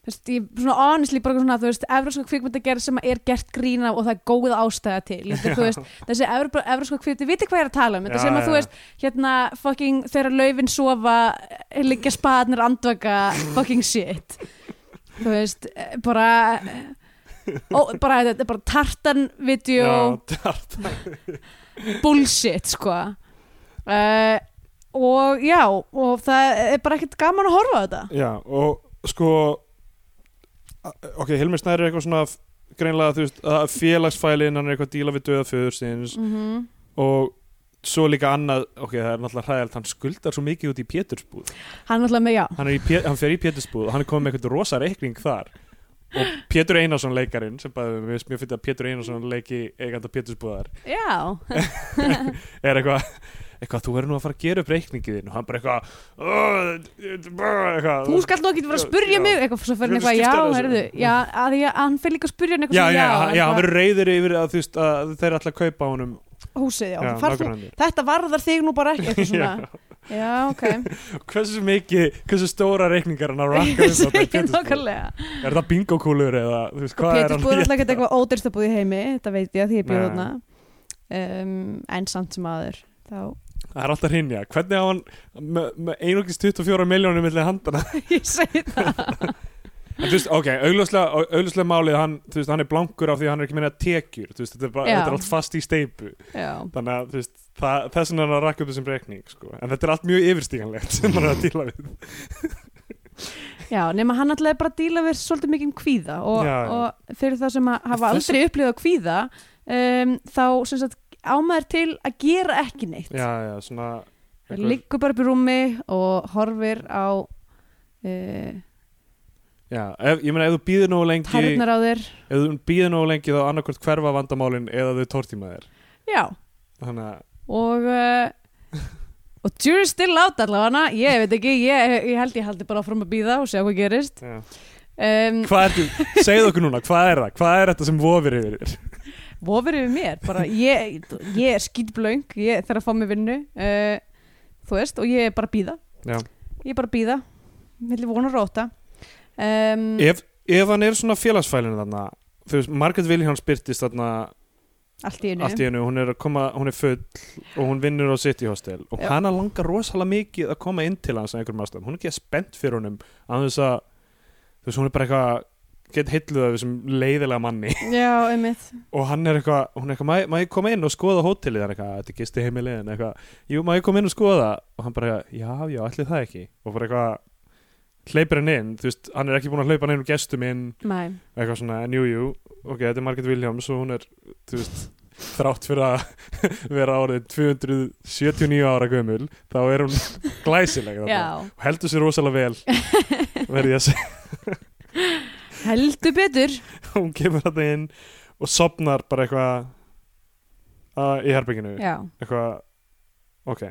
S3: þú veist, ég, svona honestly bara eitthvað svona, þú veist, evróska kvikmyndagerð sem er gert grín af og það er góð ástæða til, þetta, er, þú veist, þessi evr- evróska kvikmynd, þið viti hvað ég er að tala um, þetta
S2: Já,
S3: sem að
S2: já,
S3: þú
S2: já.
S3: veist, hérna fucking þegar laufin sofa, eh, liggja spaðnir andvaka, fucking shit þú veist, eh, bara eh, ó, bara þetta er bara tartan-vídeó
S2: já,
S3: bullshit sko uh, og já og það er bara ekkert gaman að horfa á þetta
S2: Já, og sko a- ok, Hilmi Snær er eitthvað svona f- greinlega, þú veist, að félagsfælin hann er eitthvað að díla við döða föðursins
S3: mm
S2: og svo líka annað ok, það er náttúrulega hræðilegt, hann skuldar svo mikið út í Pétursbúð,
S3: hann alltaf með, já,
S2: hann, er í Pé- hann fer í Pétursbúð og hann er komið með eitthvað rosa reikning þar og Pétur Einarsson leikarinn sem bæði, mér finnst mjög fyrir að Pétur Einarsson leiki eiganda Pétursbúðar
S3: já
S2: er eitthvað eitthvað, þú verður nú að fara að gera upp reikningið þinn og hann bara eitthvað, "Ugh, eitthvað
S3: þú skall nú ekki vera að spurja
S2: Já.
S3: mig eitthvað, svo fyrir
S2: Þú
S3: eitthvað,
S2: skiptir
S3: já,
S2: þessu.
S3: herðu já, að því að hann fyrir líka að spurja hann eitthvað
S2: já,
S3: svona,
S2: já, já, já, hann
S3: eitthvað,
S2: verður reyður yfir að, þú veist, að þeir ætla að kaupa honum
S3: húsið, já,
S2: já,
S3: já þú,
S2: nágrannarnir.
S3: þetta varðar þig nú bara ekki eitthvað svona,
S2: Já.
S3: já, ok
S2: hversu mikið, hversu stóra reikningar hann að rakka upp á þetta
S3: segir
S2: Pétursbúð?
S3: nokkarlega
S2: er það bingokúlur eða þú veist, hvað er hann
S3: Pétursbúð er
S2: að
S3: alltaf ekkert
S2: geta
S3: eitthvað ódyrsta búð í heimi þetta veit ég að því ég bjóð
S2: Nei.
S3: þarna um, en samt sem aður þá,
S2: það er alltaf hrinja, hvernig á hann með, með einungis 24 miljónum millir handana
S3: ég segi það
S2: en þú veist, ok, augljóslega, augljóslega málið hann, þú veist, hann er blankur af því að hann er ekki meina tekjur, þú veist, þetta er, bara,
S3: Já.
S2: þetta er allt fast í steipu
S3: já
S2: þannig að, þú veist, það, þess vegna er hann að rakka upp þessum reikning, sko, en þetta er allt mjög yfirstíganlegt sem hann er
S3: Mm.
S2: að díla við
S3: Já, nema hann alltaf bara að díla við svolítið mikið um kvíða og,
S2: Já, já.
S3: og fyrir það sem að hafa
S2: Þess-
S3: aldrei upplifað kvíða um, þá sem sagt ámaður til að gera ekki neitt.
S2: já, já, svona
S3: Það liggur bara upp í rúmi og horfir á uh,
S2: já, ef, ég meina, ef þú býðir nógu lengi
S3: tarðnar á þér.
S2: ef þú býðir nógu lengi þá annarkvort hverfa vandamálin eða þau tortíma þér
S3: Já,
S2: þannig að
S3: og, uh, og jury's still out allavega, ég veit ekki, ég, ég held ég haldi bara áfram að býða og sjá hvað gerist.
S2: já.
S3: Um,
S2: hvað er þetta, segðu okkur núna, hvað er það hvað er þetta sem vofir yfir þér
S3: vofir yfir mér bara, ég, ég er skýtblöng ég þarf að fá mér vinnu uh, þú veist, og ég er bara að býða
S2: Já.
S3: ég er bara að býða milli vonar og óta um,
S2: ef, ef hann er svona félagsfælinu þarna þú veist, Margaret Vilhjáns byrtist þarna
S3: allt í einu
S2: allt í hennu, hún er að koma, hún er full og hún vinnur á City Hostel og
S3: Já.
S2: hana langar rosalega mikið að koma inn til hans af einhverjum ástæðum, hún er ekki að spennt fyrir honum að þess að þú veist, hún er bara eitthvað gett hilluð af þessum leiðilega manni
S3: já, einmitt
S2: og hann er eitthvað, hún er eitthvað, "Má- má ég koma inn og skoða hótelið, hann er eitthvað, þetta er gisti heimilið en eitthvað, jú, má ég koma inn og skoða og hann bara, já, já, allir það ekki og bara eitthvað, hleypir hann inn þú veist, hann er ekki búin að hleypa neinum gestum inn
S3: Nei.
S2: eitthvað svona, en jú, jú ok, þetta er Margaret Williams og hún er þú veist, þrátt fyrir að vera árið 279 ára gömul, þá er hún glæsileg þarna.
S3: já,
S2: og heldur sér rosalega vel verði ég að segja
S3: heldur betur
S2: hún kemur þetta inn og sopnar bara eitthvað að- í herbygginu
S3: já,
S2: eitthvað, ok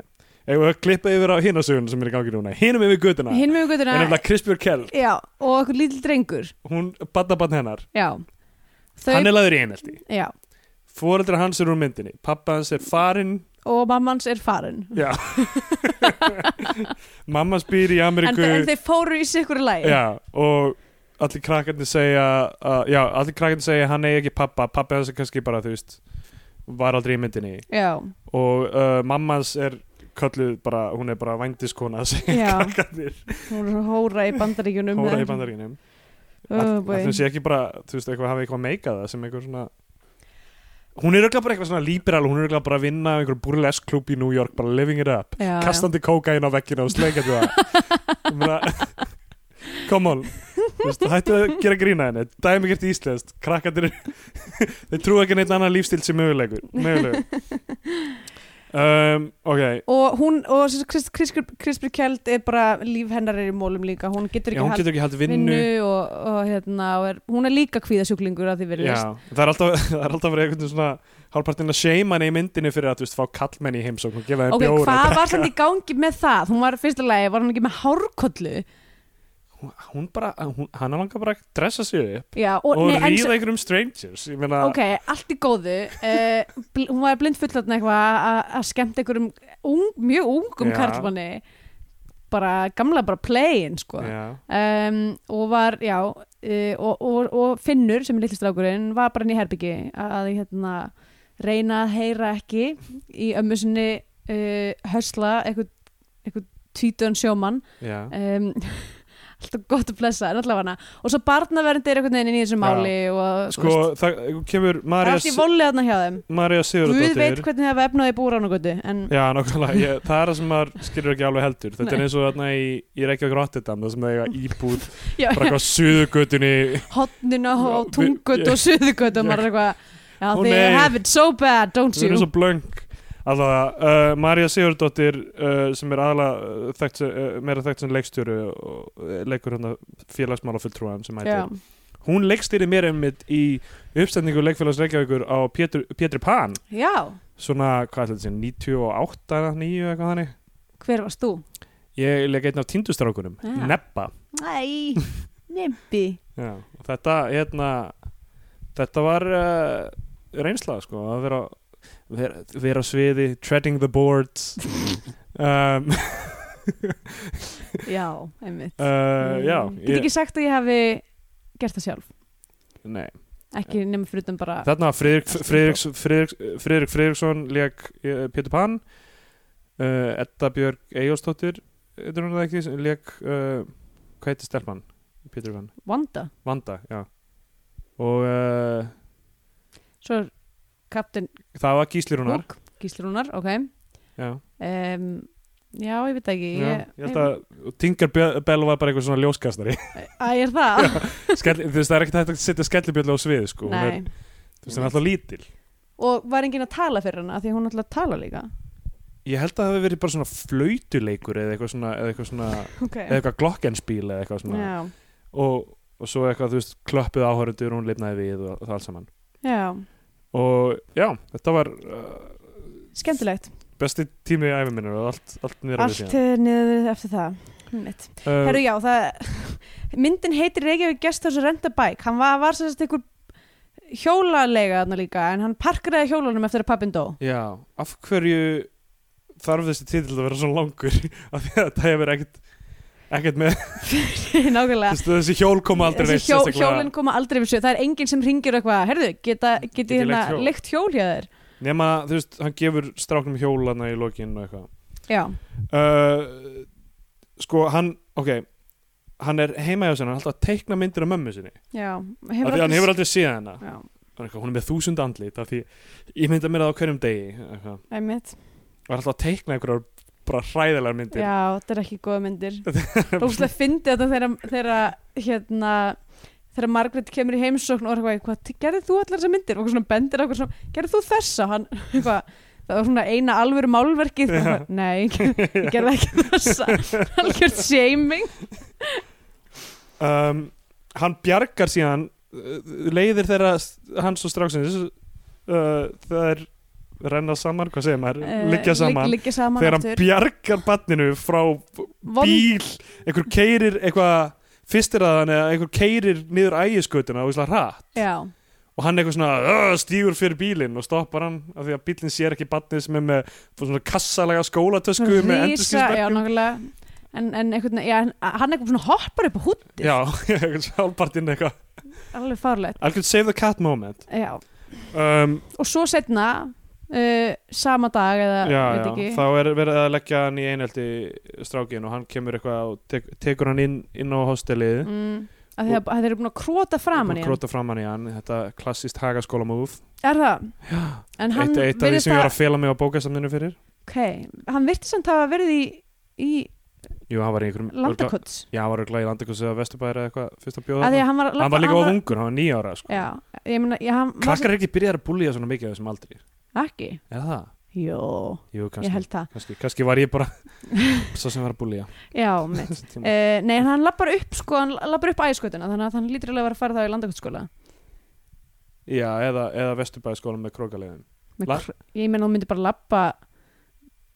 S2: eigum við að klippa yfir á hinasögun sem er í gangi núna hinum yfir gutuna,
S3: hinn með
S2: en
S3: guttuna
S2: nefnilega Krispjör Kell
S3: já, og okkur lítill drengur
S2: hún badda bann hennar,
S3: já, þau
S2: hann er laður í einhelti
S3: já,
S2: fóreldra hans eru úr myndinni, pappa hans er farinn
S3: og mammans er farin
S2: já mamma spýr í
S3: en,
S2: Ameríku
S3: þe- en þeir fóru í sikkur lægi
S2: já, og allir krakkarnir segja að, já, allir krakkarnir segja að hann eigi ekki pappa, pappi hans er kannski bara þú veist, var aldrei í myndinni
S3: já,
S2: og uh, mammans er kölluð bara, hún er bara vændiskona segja
S3: Já.
S2: krakkarnir
S3: hún er svo hóra í bandaríkjunum
S2: hóra í bandaríkinum
S3: Oh boy.
S2: þannig sé ekki bara, þú veist, eitthvað hafi eitthvað meikað það sem eitthvað svona hún er örugglega bara eitthvað svona liberal, hún er örugglega bara að vinna á einhverjum burlesk klub í New York, bara living it up
S3: já,
S2: kastandi kókain á veggina og sleikandi það Ég meina, come on Þú veist, hættu að gera grína henni dæmi gert íslenskt, krakkandir þeir trú ekki neitt annan lífstíl sem mögulegur mögulegur um, ok,
S3: og hún, og sem sagt, Chris, Chris, Krispir Kjeld er bara, líf hennar er í mólum líka hún getur
S2: já,
S3: ekki
S2: hún
S3: haldið
S2: getur ekki haldið
S3: vinnu,
S2: vinnu
S3: og, og hérna og er, hún er líka kvíðasjúklingur að því verið
S2: já, það er alltaf það er alltaf verið einhvern veginn svona hálfpartinn að seima henni í myndinni fyrir að þú veist, fá kallmenn í heimsókn og gefa henni
S3: ok,
S2: bjóra
S3: hvað var samt í gangi með það hún var fyrsta lagi, var hún ekki með hárkollu
S2: hún, hún bara, hún, hann langar bara að dressa sig upp
S3: já, og,
S2: og,
S3: nei, en-
S2: ríða einhverjum strangers ég meina,
S3: ok, allt í góðu uh, bl hún var blind fullotna eitthvað að- að skemmt einhverjum ung, mjög ungum
S2: Já.
S3: karlmanni bara gamla bara playin sko
S2: já,
S3: um, og var, já uh, og, og, og Finnur sem er litlistrákurinn var bara inn í herbyggi að hérna, reyna að heyra ekki í ömmu sinni uh, hösla eitthvað, eitthvað tvítuðan sjómann
S2: já
S3: um, alltaf gott að blessa en allavega hana og svo barnaverndi er einhvern veginn í þessu
S2: Já.
S3: máli og þú
S2: sko,
S3: veist,
S2: það kemur
S3: það er
S2: Marja
S3: allt í volið þarna hjá þeim
S2: Marja
S3: Guð veit
S2: Sigurðardóttir
S3: hvernig það var efnaði búránugötu en
S2: Já, nákvæmlega, ég, það er það sem maður skilur ekki alveg heldur Þetta er
S3: Nei.
S2: eins og þarna í, í Reykjavík Rotterdam það sem það eiga íbúð
S3: já,
S2: bara eitthvað á suðugötunni
S3: hotninu
S2: Já,
S3: og
S2: við-
S3: tungötu
S2: ég-
S3: og suðugötu og maður er eitthvað já,
S2: Ó,
S3: oh, they
S2: nei.
S3: have it so bad, don't
S2: sem er
S3: you
S2: svo blöng Alltaf, uh, Marja Sigurðardóttir uh, sem er aðalega uh, þekkt, uh, meira þekkt sem leikstjóru og uh, leikur hérna félagsmálafulltrúan sem
S3: já,
S2: hættir Hún leikstýri mér einmitt í uppstendingu leikfélags Reykjavíkur á Pétur, Pétur Pan
S3: já,
S2: svona, hvað ætla þetta sé, 98 eða 9 eitthvað þannig
S3: hver varst þú?
S2: Ég leik einn af tindustrákunum,
S3: Ah.
S2: Neppa
S3: Æ, nefndi
S2: Já, og þetta, hérna, þetta var uh, reynsla sko, að vera, vera, vera á sviði, treading the boards um,
S3: já, einmitt Mm.
S2: uh, Já,
S3: Get ekki sagt að ég hafi gert það sjálf
S2: nei
S3: ekki nema fyrir utan bara
S2: Þarna Friðrik Friðriks, Friðriks, Friðrik Friðriksson leik eh, Pétur Pan uh, Edda Björg Eyjólfsdóttir Þetta er hún það ekki, sem leik uh, Hvað heitir Stelman? Pétur Pan
S3: Wanda
S2: Vanda, já Og uh,
S3: svo er Captain
S2: það var Gísli Rúnar
S3: Cook Gíslrúnar, ok
S2: Já
S3: um, já, ég veit það ekki
S2: Já, ég held að Tinker Bell Bell var bara eitthvað svona ljóskastari
S3: Æ, er það?
S2: Skell, þú veist það er ekkert hægt að setja skellibjölu á svið sko. Hún er,
S3: Nei,
S2: þú veist, hún er alltaf lítil
S3: og var enginn að tala fyrir hana því að hún alltaf tala líka
S2: ég held að það hefði verið bara svona flautuleikur eða eitthvað svona eða eitthvað, svona,
S3: ok,
S2: eða eitthvað glokkenspíl eða eitthvað svona
S3: já,
S2: og, og svo eitthvað þú veist klöppuð áhörundur og hún lifnaði við og það allt saman
S3: já,
S2: og já, þetta var uh,
S3: skemmtilegt
S2: besti tími í æfum minni og allt, allt nýra við Uh,
S3: allt eh, niður eftir það mitt
S2: síðan
S3: Herru, já, það, myndin heitir Reykjavík Gesthás og Rendabæk hann var, var sérst einhver hjólalega þarna líka, en hann parkeraði hjólanum eftir að pappin dó
S2: já, af hverju þarf þessi titill að vera svona langur af því að þetta hefur ekkert ekkert með
S3: nákvæmlega
S2: Þessi, þessi hjól koma aldrei neitt
S3: hjó,
S2: sérstaklega.
S3: hjólinn koma aldrei við sög það er enginn sem ringir og eitthvað, herðu, geta,
S2: Get
S3: geti
S2: ég
S3: hérna
S2: leigt hjól?
S3: leikt hjól hjá þér
S2: Nema, þú veist, hann gefur stráknum hjólana í lokinn og eitthvað
S3: já,
S2: uh, Sko, hann, ok hann er heima hjá sinna, hann er alltaf að teikna myndir af mömmu sinni
S3: já,
S2: af
S3: hefur
S2: því hann hefur aldrei séð hana
S3: já,
S2: Hann er eitthvað, hún er með þúsund andlit af því ég mynda mér það á hverjum degi eitthvað.
S3: einmitt,
S2: og er alltaf að teikna einhverjar bara hræðilegar myndir
S3: já, þetta er ekki góða myndir Róslega fyndi þetta þegar, þegar hérna þegar Margrét kemur í heimsókn og er eitthvað, hvað, gerðið þú allar þessar myndir og eitthvað svona bendir á okkur svona, gerðið þú þessa hann, eitthvað, það var svona eina alvöru málverkið,
S2: Já.
S3: það var, nei ég gerði ekki þessa, algjörð shaming,
S2: um, hann bjargar síðan uh, leiðir þeirra hans og stráksins uh, þeir renna saman, hvað segir maður,
S3: Eh,
S2: liggja saman
S3: ligg- liggja saman
S2: þegar hann
S3: aftur.
S2: bjargar banninu frá
S3: Vond-
S2: bíl, einhver keirir eitthvað fyrstir að hann eða einhver keirir niður ægiskötuna og íslega hratt
S3: já,
S2: og hann eitthvað svona "Ugh", stígur fyrir bílinn og stoppar hann af því að bílinn sér ekki banninu sem er með svona kassalega skólatösku með
S3: rísa, já,
S2: endurskinsmerkjum
S3: nákvæmlega en, en einhvern, já, hann- hann eitthvað svona hoppar upp á hútt,
S2: já, einhvern sálpartinn eitthvað
S3: alveg farlegt,
S2: algjörn save the cat moment
S3: já
S2: um,
S3: og svo setna uh, sama dag eða,
S2: já,
S3: veit
S2: já,
S3: ekki
S2: þá er verið að leggja hann í einhelti strákin og hann kemur eitthvað og tek, tekur hann inn, inn á hostelið
S3: mm, að þeir, að þeir eru búin að króta framan í hann
S2: krota framan í hann, þetta klassist hagaskóla move
S3: er það? en hann
S2: eitt, eitt af því
S3: virðist
S2: sem ég var
S3: að
S2: að fela mig á bókasamninu fyrir
S3: ok, hann virtist samt að hafa verið í, í
S2: Jú, hann var í einhverjum örugglega-
S3: landakots
S2: Já, hann var örgla í landakotsi eða vesturbæri eða eitthvað fyrst að bjóða
S3: að
S2: þarna.
S3: því að hann var,
S2: Hann var líka of ungur, hann var nýja ára sko.
S3: já, ég meina, já, hann
S2: Krakkar er ekki byrjar að búlja svona mikið á þessum aldri
S3: var ekki,
S2: Er það?
S3: jú,
S2: Jú,
S3: ég
S2: kannski,
S3: held það
S2: kannski, kannski var ég bara svo sem var að búlja
S3: já, mitt Uh, nei, en hann lappar upp sko, hann lappar upp æskutuna þannig að hann lítur alveg að vera að fara þá í landakotsskóla
S2: Já, eða, eða vesturbæri með krókalegin
S3: Með
S2: La-
S3: kr- ég meina hún myndi bara lappa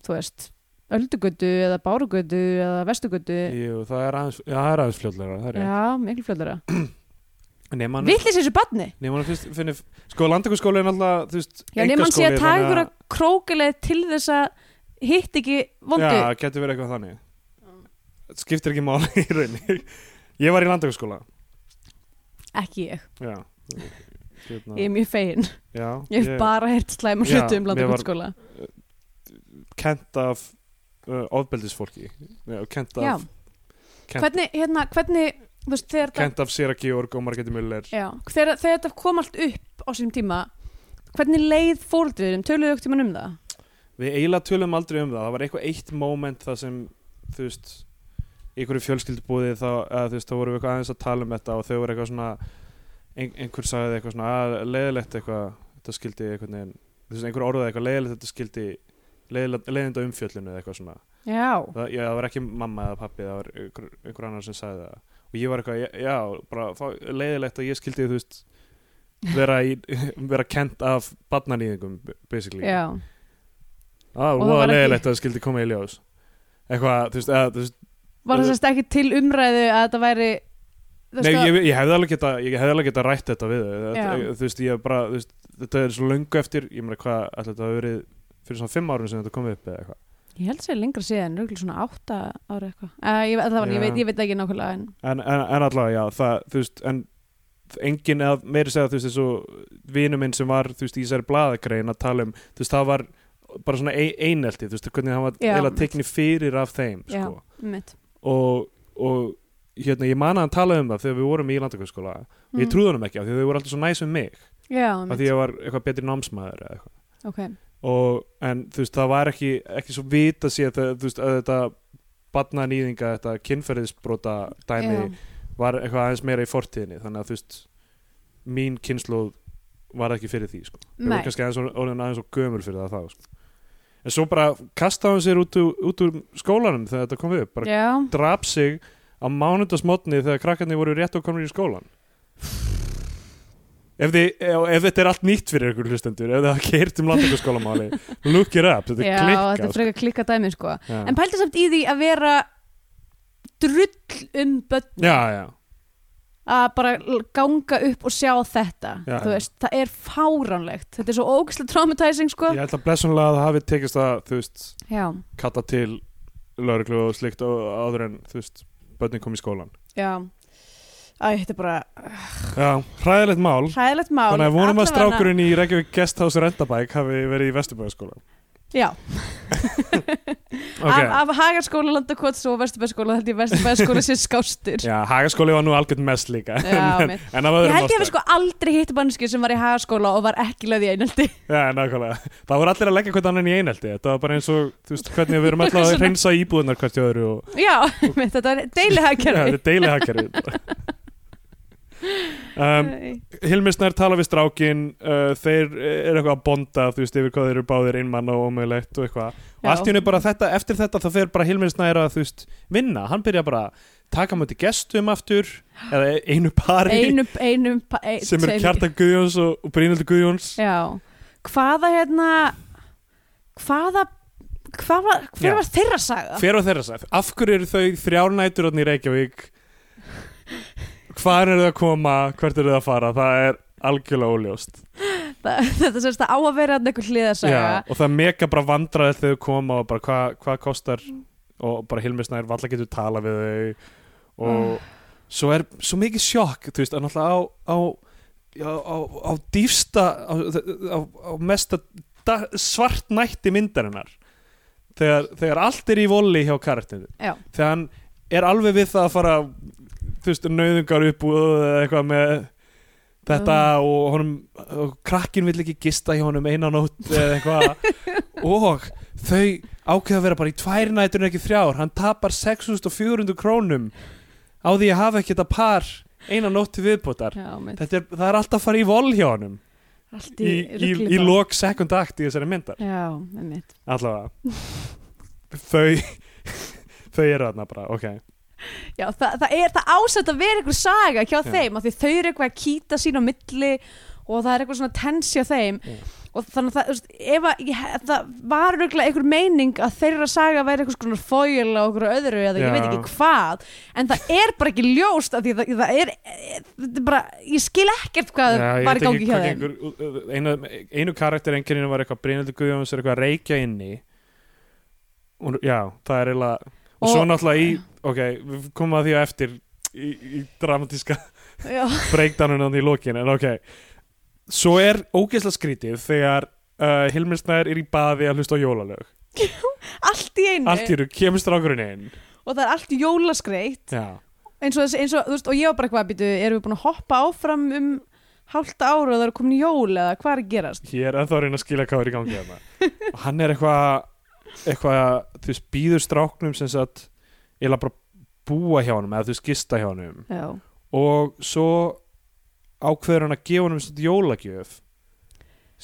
S3: þú veist öldugötu eða bárugötu eða vestugötu
S2: Jú, það er aðeins, já, það er aðeins fljóðlega Það er rétt.
S3: Eh. já, miklu fljóðlega
S2: Nema hann-
S3: villis þessu badni
S2: nema hann fyrst finnir Sko, landakaskóli er náttúrulega, þú veist
S3: já, nema hann sé
S2: einkaskóli,
S3: að taka
S2: þannig
S3: ykkur að krókileg til þess að hitt ekki vondu
S2: Já, getur verið eitthvað þannig Þetta Skiptir ekki máli í rauninni Ég var í landakaskóla
S3: ekki ég,
S2: Já Hérna,
S3: ég er mjög fegin
S2: já,
S3: ég hef bara heyrt slæma
S2: Já,
S3: hluti um
S2: mér var-
S3: landakotsskóla
S2: kent af uh, ofbeldisfólki Já, kent
S3: já,
S2: af, Kent-
S3: hvernig, hérna, hvernig þú veist, þegar þetta
S2: kent af Sera Georg og Margeti Müller
S3: Já, þegar, þegar þetta kom allt upp á sínum tíma, hvernig leið fóldriðum, töluðu okkur tíman um það?
S2: Við eiginlega tölum aldrei um það Það var eitthvað eitt moment það sem þú veist, í einhverju fjölskyldubúði þá, eða, þú veist, þá vorum við eitthvað aðeins að tala um þetta og þau voru eitthvað svona ein, einhver sagði eitthvað svona að leiðilegt eitthvað þetta skildi einhvern veginn þú veist, einhver orðaði eitthvað leiðilegt þetta skildi leiðinda umfjöllinu eða eitthvað svona
S3: Já,
S2: það, já, það var ekki mamma eða pappi það var einhver, einhver annar sem sagði það og ég var eitthvað, já, já, bara fá- leiðilegt að ég skildi, þú veist vera, í, vera kent af barnanýðingum, basically
S3: já,
S2: ah, og
S3: Og það var
S2: það
S3: ekki-
S2: leiðilegt að það skildi koma í ljós eitthvað, þú veist, eða, þú veist
S3: var það sérst ekki til umræðu að þetta væri þú veist
S2: nei,
S3: að-
S2: ég, ég hefði alveg geta ég hefði alveg geta rætt þetta við þau
S3: Já.
S2: Þetta- þú veist, ég bara, þú veist, þetta er svo löngu eftir ég meina hvað, ætli þetta hafi verið fyrir svona fimm árum sem þetta komið upp eða eitthvað
S3: ég held sér lengra síðan, röglega svona átta ára eitthvað uh, ég, það var, ég,
S2: Já.
S3: veit, ég veit ekki nákvæmlega en
S2: en, en, en allavega, já, það, þú veist en engin eða meiri segja þú veist þessu vinu minn sem var þú veist í þessari blaðagrein að tala um þú veist það var bara svona ein, einelti þú veist hvernig hann var
S3: Já.
S2: eiginlega tekni fyrir af þeim
S3: Já.
S2: sko.
S3: mitt
S2: og, og hérna ég man að hann tala um það þegar við vorum í landakaskóla og ég trúði honum ekki af því að þau voru alltaf svo næs um mig
S3: Mm. já,
S2: af
S3: mitt,
S2: því ég var eitthvað betri námsmaður eða eitthvað
S3: ok
S2: og, en þú veist, það var ekki, ekki svo vita sér það, þú veist, að þetta barnanýðinga, þetta kynferðisbrota dæmi
S3: já.
S2: var eitthvað aðeins meira í fortíðinni þannig að þú veist, mín kynnslóð var ekki fyrir því sko. Ég
S3: Nei,
S2: var kannski aðeins orðin aðeins og gömul fyrir það þá sko. en svo bara kastaði hann sér út, úr- út úr skólanum þegar þetta kom upp bara
S3: já,
S2: drap sig á mánundasmotni þegar krakkarnir voru rétt og komur í skólan ef, þið, ef, ef þetta er allt nýtt fyrir ykkur hlustendur, ef það keirt um landingaskólamáli look it up, þetta er
S3: já, þetta er
S2: klikkað
S3: frekar klikka dæmi sko
S2: sko. já.
S3: en pældi samt í því að vera drull um börn
S2: já, já,
S3: að bara l- ganga upp og sjá þetta
S2: Já,
S3: þú
S2: já.
S3: veist, það er fáránlegt þetta er svo ógæslega traumatizing sko
S2: ég held að blessunlega að það hafi tekist að þú veist,
S3: já,
S2: kalla til lauruglu og slikt og áður en þú veist, börnin kom í skólan
S3: já Æ, þetta er bara
S2: já, hræðilegt mál
S3: hræðilegt mál
S2: Þannig að vonum að
S3: Allavega-
S2: strákurinn í Reykjavík Guesthouse Rendabæk hafi verið í Vesturbæðaskóla
S3: Já
S2: ok,
S3: af, af Hagaskóla, Landakots og Vesturbæðskóla held ég Vesturbæðskóla sé skástur
S2: já, hagaskóli var nú algjörn mest líka
S3: Já,
S2: en,
S3: mitt.
S2: en af
S3: Ég
S2: öðrum
S3: held ég
S2: ástæðum
S3: hef sko aldrei hitt mannski sem var í Hagaskóla og var ekki löði í einhaldi
S2: Já, nákvæmlega. Það voru allir að leggja hvern annan í einhaldi. Þetta var bara eins og, þú veist, hvernig við erum alltaf að
S3: Svona.
S2: reynsa íbúðunar hvert í öðru og
S3: Já, einmitt, þetta er
S2: Já,
S3: deilihagkerfi
S2: þetta er deili hagkerfi. um, Hilmisnær tala við strákin, uh, þeir eru eitthvað að bonda, þú veist, yfir hvað þeir eru báðir einmann og ómögulegt og eitthvað. Og
S3: Já.
S2: allt í hennu bara þetta, eftir þetta þá fer bara Hilmisnær að, þú veist, vinna. Hann byrja bara að taka múti gestum aftur, eða einu pari
S3: Einum, einum pa- e- ein,
S2: sem eru
S3: tveim-
S2: Kjartan Guðjóns og, og Brynildur Guðjóns.
S3: Já, hvaða hérna hvaða hvað var, hver
S2: Já.
S3: var þeirra saga?
S2: Hver á þeirra sæð? Af hverju eru þau þrjárnætur í Reykjavík? Hvar eru þau að koma? Hvert eru þau að fara? Það er algjörlega óljóst
S3: Þa, þetta sérst það á að vera hérna einhver hliðasaga
S2: Og það er mega bara vandræðið þegar þau koma og bara hvað hva kostar og bara Hilmi Snær valla getur tala við þau og svo er svo mikið sjokk, þú veist, að náttúrulega á á, á, á, á dýfsta á, á, á mesta da- svartnætti myndarinnar þegar, þegar allt er í voli hjá karakterinu
S3: Já.
S2: þegar hann er alveg við það að fara þú veist, nauðungar upp eða eitthvað með þetta og honum, og krakkin vill ekki gista hjá honum einan nótt eða eitthvað og þau ákveða að vera bara í tvær nætur en ekki þrjár, hann tapar 6400 krónum á því að hafa ekki þetta par einan nótt til viðbótar
S3: Já, mitt,
S2: þetta er, það er alltaf að fara í vol hjá honum
S3: allt
S2: í,
S3: í,
S2: í,
S3: rugli
S2: í
S3: bara.
S2: lok second act í þessari myndar
S3: Já, einmitt
S2: allavega þau þau eru þarna bara, ok
S3: Já, það, það er það ásett að vera einhver saga hjá
S2: Já.
S3: þeim af því þau eru eitthvað að kýta sín á milli og það er eitthvað svona tensi á þeim
S2: Já.
S3: og þannig að það, þú veist, ef að ég, það var auðvitað einhver meining að þeirra saga væri einhvers konar fóil á okkur öðru eða
S2: Já.
S3: ég veit ekki hvað en það er bara ekki ljóst af því það, það er, það er bara, ég skil ekkert hvað
S2: Já, ég
S3: var
S2: veit
S3: í gangi
S2: ekki
S3: hjá
S2: hvað
S3: þeim
S2: gengur- uh, einu, einu karakter engirinu var eitthvað Brynildur Guðjóns er eitthvað að reykja inni og, já, það er eiginlega og, svo
S3: Og-
S2: náttúrulega í, ok, við komum að því á eftir í, í dramatíska
S3: Já,
S2: breakdownunum í lokin, en ok svo er ógeðslega skrítið þegar uh, Hilmir Snær er í baði að hlusta á jólalög
S3: allt í einu
S2: allt í eru, kemur strákurinn inn
S3: og það er allt jólaskreitt
S2: já,
S3: eins og, þessi- eins og, þú veist, og ég var bara eitthvað að býtu, erum við búin að hoppa áfram um hálft ára og það eru komin í jól eða hvað er að gerast?
S2: ég er ennþá að reyna að skila hvað er í gangi þarna og hann er eitthvað eitthvað, þú veist, býður stráknum sem sagt, ég laði bara búa hjá honum eða þú veist, gista hjá honum
S3: Já.
S2: og svo ákveður hann að gefa honum svona jólagjöf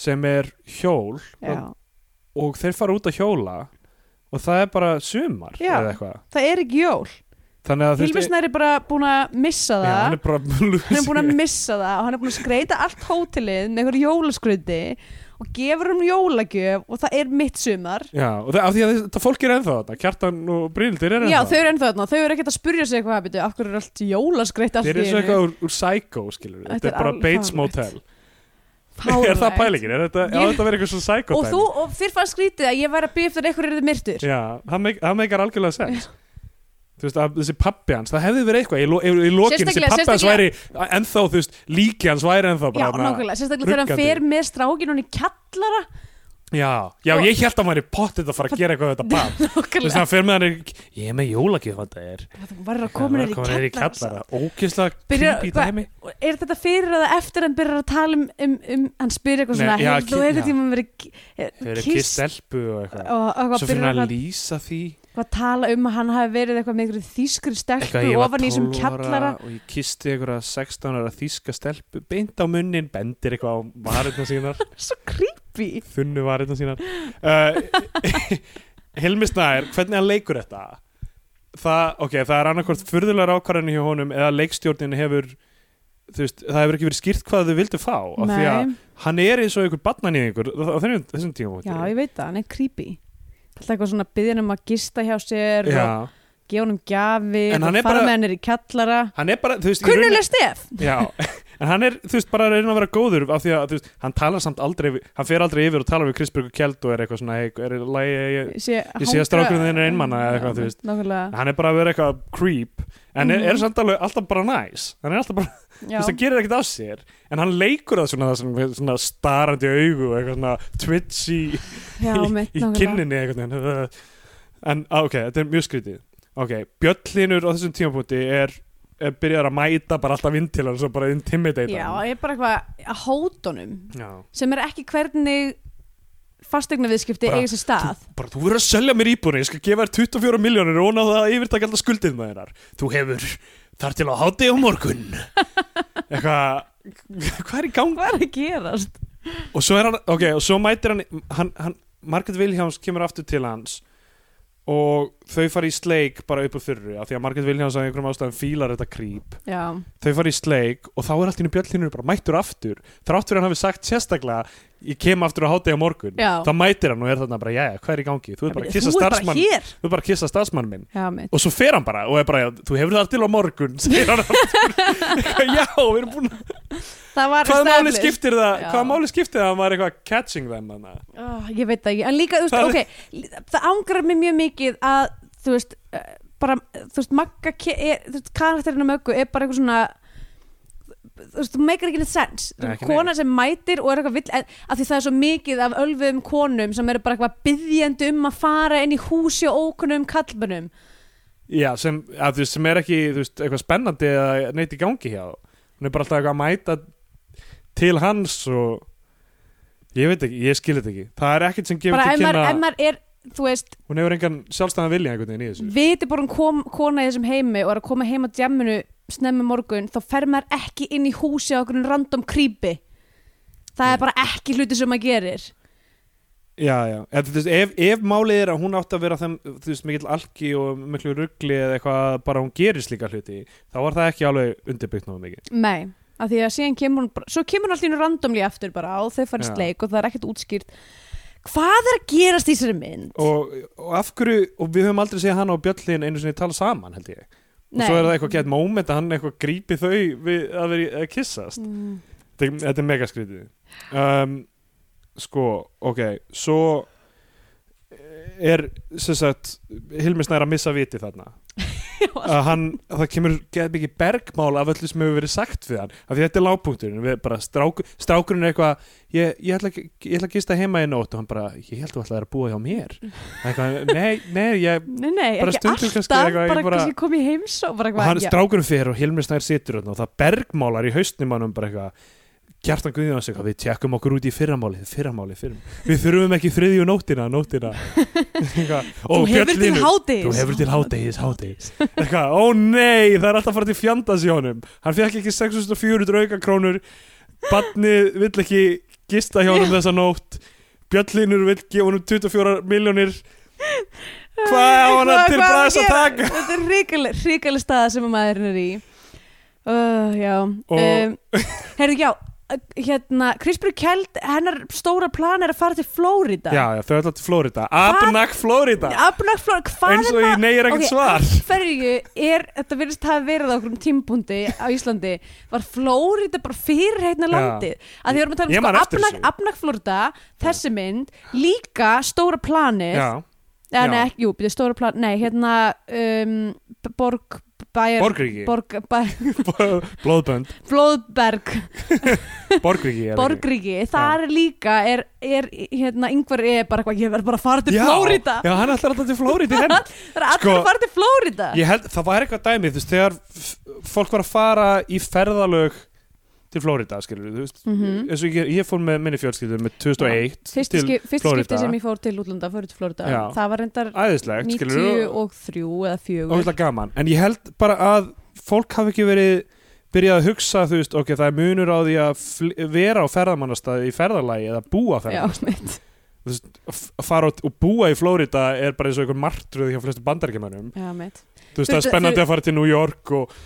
S2: sem er hjól
S3: Já.
S2: og þeir fara út að hjóla og það er bara sumar
S3: Já.
S2: eða eitthvað
S3: Það er ekki jól.
S2: þannig að þú veist,
S3: Hilmisnær er bara búin að
S2: já,
S3: missa það.
S2: hann er bara
S3: hann er búin að missa það og hann er búin að skreita allt hótelið með einhverju jólaskruti og gefur um jólagjöf og það er mitt sumar.
S2: já, og það, af því að þetta fólk er ennþá þarna Kjartan og Brynildir er ennþá
S3: Já, þau eru ennþá þarna. Þau eru ekkert að spurja sig eitthvað að byrja, af hverju er allt jólaskreitt allt
S2: Þeir eru
S3: í
S2: svo
S3: einu?"
S2: eitthvað úr, úr Psycho, skilur
S3: Þetta
S2: Þetta er
S3: er
S2: bara
S3: alveg
S2: Bates
S3: fáránlegt.
S2: Motel Er
S3: Fáránlegt.
S2: það pælingin? Er þetta, á
S3: Ég-
S2: þetta að vera eitthvað svona Psycho
S3: Og
S2: dæmi?
S3: þú, og þér fannst skrítið að ég væri að byggja eftir að einhverju er myrtur.
S2: Já, það meik- það meikar algjörlega sens Þú veist, að þessi pappi hans, það hefði verið eitthvað Í, lo, í, í lokin, þessi
S3: Sérstaklega-
S2: pappi hans væri
S3: sérstaklega-
S2: ennþá, þú veist, líki hans væri ennþá
S3: Já,
S2: bara, þarna-
S3: nákvæmlega, sérstaklega þegar hann
S2: ruggandi.
S3: fer með strákin hún í kjallara
S2: Já, já,
S3: Og-
S2: ég held að hann væri pottið að fara að gera eitthvað við þetta barn Þú veist,
S3: Nákvæmlega,
S2: hann fer með hann í, ég er með jólagjöf þetta er
S3: það var að koma
S2: Hann
S3: hér
S2: var
S3: í kjallara
S2: Ókislega
S3: Byrjar-
S2: creepy
S3: hva-
S2: dæmi
S3: Og Er þetta fyrir eða eftir hann byrjar að tala um, um, um hann spyrir eitthvað
S2: Nei,
S3: svona
S2: já,
S3: "Hefur Þú
S2: ki-
S3: eitthvað
S2: já.
S3: tíma verið ki-
S2: Þau
S3: eh,
S2: eru kist
S3: kysst
S2: elpu og eitthvað
S3: og eitthvað
S2: Svo
S3: byrjar
S2: finnir hann
S3: hann
S2: að lýsa því
S3: eitthvað að tala um að hann hafi verið eitthvað með einhverju þýskri stelpu ofan í þessum kjallara
S2: og ég kisti einhverja 16 ára þýska stelpu beint á munnin, bendir eitthvað á varirna sínar,
S3: Svo creepy
S2: þunnu varirna sínar uh, Hilmi Snær hvernig hann leikur þetta það, ok, það er annarkvort furðulegar ákvarðinu hjá honum eða leikstjórnin hefur þú veist, það hefur ekki verið skýrt hvað þau vildu fá af því að
S3: Nei,
S2: hann er eins og einhver barnanýðingur á þessum, þessum tíma
S3: já ég veit það, hann er creepy Alltaf eitthvað svona byggðin um að gista hjá sér og
S2: Já,
S3: gefa honum gjafir
S2: En hann
S3: og
S2: er
S3: fara
S2: bara-
S3: með hann er í kjallara
S2: hann er bara þú veist, í rauninni-
S3: Kunnuleg stef
S2: Já, en hann er, þú veist, bara að reyna að vera góður af því að, þú veist, hann talar samt aldrei við- hann fer aldrei yfir og talar við Krisberg og Kjeld og er eitthvað svona, hey, er lægi
S3: sé
S2: Ég sé að
S3: hanga-
S2: strákurinn þinn er einmana eða eitthvað, þú veist.
S3: nákvæmlega.
S2: hann er bara að vera eitthvað creep en er, er
S3: Mhm.
S2: samt alveg alltaf bara næs hann er alltaf bara, þú
S3: Já.
S2: veist, hann gerir ekkert af sér en hann leikur það svona, svona, svona starandi augu og eitthvað svona twitch í,
S3: Já,
S2: í,
S3: mitt,
S2: í
S3: nákvæmlega.
S2: kinninni eitthvað, en á, ok, þetta er mjög skrítið ok, bjöllinur á þessum tímapunkti er, er byrjar að mæta bara alltaf inn til hann og bara intimidate
S3: Já,
S2: hann
S3: ég er bara eitthvað að hótonum
S2: Já.
S3: sem er ekki hvernig fastegnaviðskipti
S2: Bara-
S3: eiga sér stað
S2: bara þú verður að selja mér íbúinu ég skal gefa þér 24 miljónir og ná það að yfirtaka alltaf skuldið með hennar þú hefur þar til á hátíð á morgun eitthvað hvað er í gangi
S3: Hvað er að gerast?
S2: og svo er hann, ok, og svo mætir hann, hann, hann Margaret Williams kemur aftur til hans og þau fara í sleik bara upp á fyrru, af því að Margaret Williams af einhverjum ástæðum fílar þetta creep
S3: Já,
S2: þau fara í sleik og þá er allt í einu bjöllinu bara mættur aftur, þrátt fyrir að hann hafi sagt sérstaklega, ég kem aftur á hátegi á morgun
S3: Já.
S2: þá mætir hann og er þarna bara, jæja, hvað er í gangi þú er bara að kissa
S3: Þú ert bara
S2: starfsmann
S3: hér
S2: þú er bara að kissa starfsmann minn
S3: Já, mitt
S2: og svo fer hann bara og er bara, þú hefur það til á morgun segir hann aftur já, við erum búin að
S3: Það var
S2: hvaða máli
S3: established.
S2: skiptir það,
S3: Já.
S2: hvaða máli skiptir það að hann var eitthvað catching them hana.
S3: Oh, ég veit það ekki, en líka, þú
S2: Það
S3: veist, ok það ángrar mér mjög mikið að þú veist, eh, bara, þú veist Magga, ke- er, þú veist, karakterinu möggu er bara eitthvað svona þú veist, þú meikir ekki neitt sens Þú
S2: Nei,
S3: veist,
S2: ekki
S3: kona sem mætir og er eitthvað vill af því það er svo mikið af ölfuðum konum sem eru bara eitthvað byggjandi um að fara inn í húsi og um ókunum kallmönum
S2: Já, sem, að, þú veist, sem er ekki þú veist, eitthvað spennandi eða neitt í gangi hjá hún er bara alltaf eitthvað að mæta til hans og ég veit ekki, ég skil þetta ekki það er ekkert sem gefur
S3: bara ef
S2: til
S3: maður,
S2: kynna
S3: ef maður er, þú veist
S2: hún hefur engan sjálfstæðan vilja einhvern veginn í þessu
S3: viti bara hún kom, kona í þessum heimi og er að koma heim á djamminu snemmi morgun þá fer maður ekki inn í húsi á okkur random creepy það er bara ekki hluti sem maður gerir
S2: Já, já, en, þú veist, ef, ef málið er að hún átt að vera þeim, þú veist, mikill alki og miklu ruggli eða eitthvað bara hún gerir slíka hluti þá var það ekki alveg undirbyggt náðu mikið
S3: nei, af því að síðan kemur hún bara, svo kemur hún alltaf inn randomli aftur bara og þau
S2: Já.
S3: farist leik og það er ekkert útskýrt hvað er að gerast í þessari mynd?
S2: og, og af hverju, og við höfum aldrei séð hann og Bjöllin einu sinni tala saman, held ég og
S3: Nei.
S2: svo er það eitthvað gett moment að hann eitthvað grípi þau við að vera í- að kissast
S3: Mm.
S2: þetta, er- þetta er mega skrítið um, sko, ok svo eh, er sem sagt Hilmi Snær að missa viti þarna að hann, það kemur geð mikið bergmál af öllu sem hefur verið sagt við hann af því þetta er lágpunkturinn, við bara strák, strákurinn er eitthvað, ég, ég, ætla, að- ég ætla að gista heima í nótt og hann bara, ég held þú ætlaði að búa hjá mér eitthvað, nei, nei, ég
S3: nei, nei,
S2: Bara
S3: ekki
S2: stundum
S3: alltaf
S2: kannski eitthvað, ég
S3: bara
S2: bara-
S3: kannski komið heims og bara
S2: og hann
S3: eitthvað já.
S2: strákurinn fyrir og Hilmi Snær situr þarna og það bergmálar í haustnum hann um bara eitthvað Kjartan Guðjóns eitthvað, við tjekkum okkur út í fyrramálið fyrramálið, fyrramálið, við þurfum ekki þriðju nóttina, nóttina Eitthvað,
S3: þú
S2: og
S3: hefur til
S2: Björn Hlynur,
S3: hátis
S2: þú hefur til hádegis, hádegis eitthvað, ó nei, það er alltaf að fara til fjandans í honum hann fekk ekki 6400 auka krónur barnið vill ekki gista hjá honum þessa nótt Bjöllinur vill gefa honum 24 miljónir Hvað á hann
S3: Hvað-
S2: til
S3: hvað á
S2: bragðs að
S3: gera?
S2: taka?
S3: Þetta er ríkileg, ríkileg staða sem að maðurinn er í uh, Já um, Herðu, já uh, hérna, Krispur Kjeld, hennar stóra plan er að fara til Flórida
S2: Já, já, þau ætla til Flórida Abnak Flórida
S3: Abnag Flórida, hvað
S2: eins og
S3: er
S2: ég
S3: það?
S2: negir ekkert
S3: Ok,
S2: svar
S3: af hverju er, þetta virðist hafa verið á okkur tímpúndi á Íslandi var Flórida bara fyrirheitna
S2: Já.
S3: landið að því við erum að
S2: Ég man
S3: tala um
S2: eftir
S3: sko,
S2: þessu.
S3: Abnag- Abnag Flórida þessi mynd, líka stóra planið
S2: Já,
S3: Já,
S2: Já.
S3: nei, ekki, jú, byrju, stóra plan, nei, hérna um, b- Borg, bæjar
S2: Borgríki
S3: Borg, bæ,
S2: Blóðbönd,
S3: Flóðberg,
S2: Borgríki er það ekki?
S3: Borgríki þar líka er, er hérna, yngvar er bara eitthvað, ég verð bara að fara til
S2: Já,
S3: Flórida
S2: Já, hann ætlar alltaf til Flórida henn
S3: það er allir
S2: Sko-
S3: að fara til Flórida
S2: Ég held, það var eitthvað dæmi, þú veist, þegar f- fólk var að fara í ferðalög til Flórida, skilur þú veist
S3: Mhm.
S2: eins og ég, ég fór með minni fjölskyldur með 2001
S3: Fyrst,
S2: til
S3: skip, fyrst
S2: Flórída.
S3: skipti sem ég fór til útlanda fór til Flórida,
S2: Já.
S3: það var reyndar
S2: æðislegt, skilur
S3: 93 eða 4
S2: ógæslega gaman, en ég held bara að fólk hafi ekki verið byrjað að hugsa, þú veist, ok, það er munur á því að fl- vera á ferðamannastæði í ferðalagi eða búa á
S3: Já,
S2: ferðamannastæði
S3: mitt
S2: Þú veist, f- að fara út og búa í Flórida er bara eins og einhver martröð hjá flestu bandaríkjamennum
S3: Já, mitt
S2: þú veist, það er
S3: Þau-
S2: spennandi
S3: þau-
S2: að fara til New York og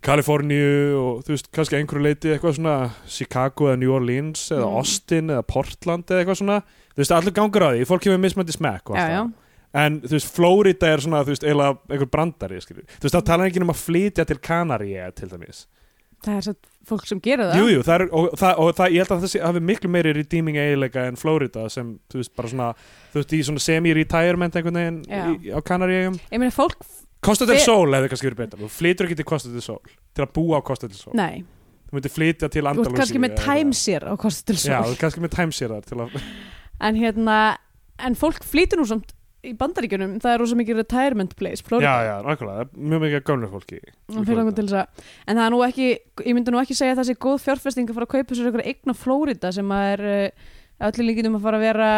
S2: Kaliforníu og þú veist, kannski að einhverju leiti eitthvað svona Chicago eða New Orleans eða
S3: Mm.
S2: Austin eða Portland eða eitthvað svona þú veist, allur gangur á því, fólk hefur mismandi smekk og allt
S3: Já, já,
S2: það. en þú veist, Flórida er svona, þú veist, eiginlega einhver brandari, skilju, þú veist, það tala ekki um að flytja til Kanaríja til dæmis
S3: það er satt fólk sem gera það
S2: Jú, jú, það er, og, það, og það, ég held að það sé- hafi miklu meiri redeeming eiginleika en Florida sem, þú veist, bara svona, þú veist, í svona semi-retirement einhvern veginn
S3: Já.
S2: í, á Kanaríum.
S3: Ég meina fólk,
S2: Costa del
S3: Fe-
S2: Sol hefði kannski verið betra, þú flytur ekki til Costa del Sol, til að búa á Costa del Sol.
S3: nei
S2: Þú myndir flytja til
S3: Þú
S2: Andalúsi.
S3: ert kannski með timesir á kosti til
S2: Já,
S3: svo
S2: þú ert kannski með timesýrar til að,
S3: en hérna en fólk flýtur nú samt í bandaríkjunum það er rosa mikið retirement place
S2: já,
S3: Florida
S2: já, nákvæmlega, mjög mikið af gömlu fólki
S3: og fyrir langar til þess að en það er nú ekki, ég myndi nú ekki segja að það sé góð fjárfesting að fara að kaupa sér einhverja eign á Flórida sem að er uh, öllu líkinum að fara að vera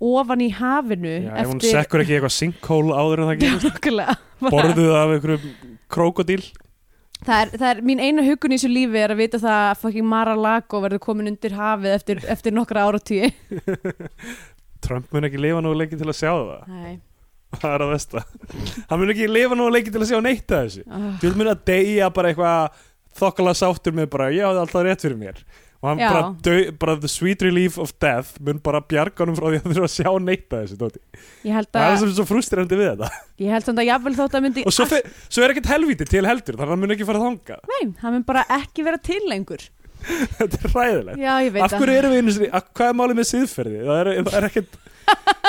S3: ofan í hafinu
S2: já, ef hún sekkur ekki í eitthvað sinkhól áður en það
S3: Já,
S2: gerist
S3: nákvæmlega. Bara-
S2: borðuð af einhverjum krókodíl
S3: það er, það er mín eina hugun í þessu lífi er að vita það að fucking Mar-a-Lago verður komin undir hafið eftir, eftir nokkra áratíu
S2: Trump mun ekki lifa nógu lengi til að sjá það
S3: Nei,
S2: það er að vesta hann mun ekki lifa nógu lengi til að sjá neitt af þessu
S3: oh,
S2: þú vil mun að deyja bara eitthvað þokkala sáttur með bara ég hafði alltaf rétt fyrir mér og hann
S3: Já.
S2: bara, dö, bara the sweet relief of death mun bara bjarga honum frá því að þurfa að sjá neitt af þessu Dóti.
S3: ég held
S2: það er
S3: að
S2: sem er svo frustrandi við þetta
S3: ég held samt að jafnvel þótt að myndi
S2: og svo, fer, svo er ekkert helvíti til heldur þannig að hann mun ekki fara þangað
S3: Nei, það mun bara ekki vera til lengur
S2: þetta er ræðilegt
S3: Já, ég veit
S2: af hverju erum við einu sinni, af- hvað er málið með siðferði það er, það er ekkert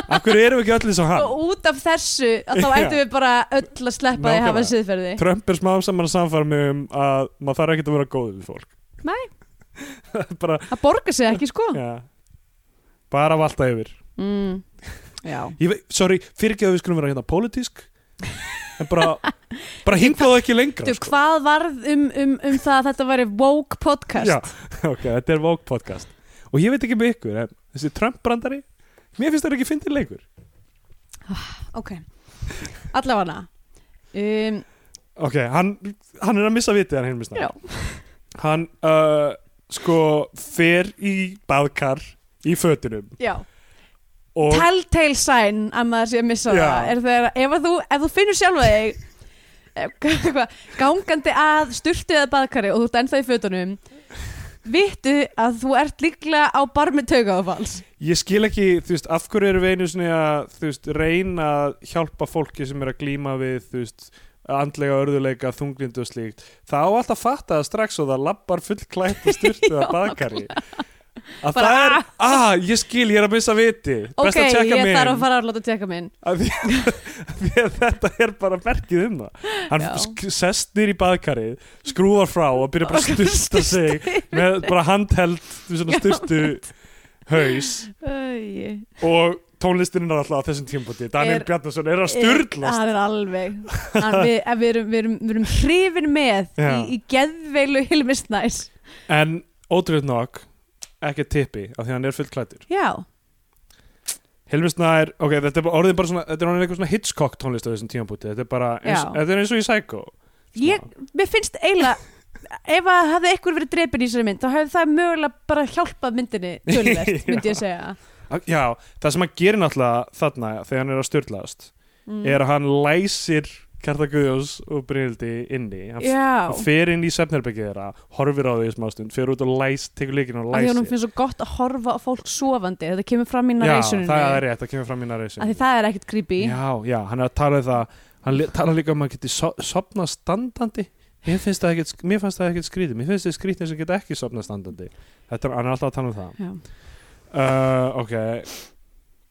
S2: af hverju erum við ekki öll eins og hann
S3: Og út af þessu að þá
S2: Já.
S3: ættum við bara öll að sleppa því að hafa
S2: Nákvæmlega.
S3: siðferði
S2: Trump er smá saman að samfara mig um að maður þarf ekkert að vera góður við fólk Nei bara,
S3: Það borgar sig ekki, sko
S2: ja, bara valta yfir
S3: mm. Já,
S2: ég veit, sorry, fyrirgeðu að við skulum vera hérna pólitísk en bara bara hinglaðu ekki lengra
S3: Þú, hvað varð um, um, um það að þetta væri woke podcast?
S2: Já, ok, þetta er Vogue podcast og ég veit ekki með ykkur, en þessi Trump brandari mér finnst það ekki fyndin leikur
S3: Ok, allavega um,
S2: ok, hann, hann er að missa vitið hann heimist
S3: Já,
S2: hann uh, sko fer í baðkar í fötunum
S3: já
S2: og
S3: Telltale sign að maður sé að missa
S2: Já.
S3: það er þegar, ef, að þú, ef þú finnur sjálfa þig eh, hvað, gangandi að sturtu eða baðkari og þú ert ennþá í fötunum vittu að þú ert líklega á bar með taugáfalls
S2: Ég skil ekki, þú veist, af hverju eru við einu svona að, þú veist, reyna að hjálpa fólki sem er að glíma við, þú veist, andlega örðuleika, þunglindu og slíkt. Það á alltaf að fatta það strax og það labbar fullklætt og styrtuð að baðkari. Að
S3: Bara,
S2: það er, ah, ég skil, ég er að missa viti.
S3: ok,
S2: Best að
S3: ég
S2: tjekka mig.
S3: þarf að fara að láta tjekka minn
S2: Að því, að því að þetta er bara merkið um það. Hann
S3: Já.
S2: sk- sest nýr í baðkarið, skrúfar frá og byrjar bara að styrta sig með bara handheld, þú veist, svona
S3: Já.
S2: styrtu haus
S3: Æi,
S2: og tónlistin er alltaf á þessum tímpoti Daniel
S3: Er-
S2: Bjarnason er að styrlast
S3: Það er alveg Hann, við, að við, erum, við, erum, við erum hrifin með í,
S2: Já.
S3: í geðveilu Hilmis Næs
S2: en ótrúið nokk ekki tippi af því að hann er fullt klættur
S3: Já,
S2: Hilmi Snær, ok, þetta er bara orðið bara svona þetta er orðin eitthvað svona Hitchcock tónlist á þessum tímpoti þetta er bara, eins,
S3: Já.
S2: þetta er eins og í Psycho
S3: ég, mér finnst eiginlega ef að hafði einhver verið drepin í þessari mynd þá hefði það mögulega bara hjálpað myndinni tölvert,
S2: Já.
S3: myndi ég segja
S2: Að- já, það sem hann gerir náttúrulega þarna þegar hann er að styrlast
S3: mm.
S2: er að hann læsir Kjarta Guðjóns og Brynildi inni hann
S3: Já,
S2: hann fer inn í sefnerbyggið þeirra horfir á því í smástund, fer út og læs tekur líkinu og
S3: af því að hún
S2: læsir
S3: finnst svo gott að horfa á fólk sofandi þetta kemur fram í
S2: já,
S3: narrationinu
S2: það er rétt, það kemur fram í narration
S3: af því það er ekkert creepy
S2: Já, já, hann er að tala um það hann li- talar líka um að geti so sopna standandi mér finnst það ekkert, mér fannst það ekkert skrítið mér finnst það skrítið sem geta ekki sopna standandi þetta er, hann er alltaf að tala um það
S3: Já.
S2: uh, ok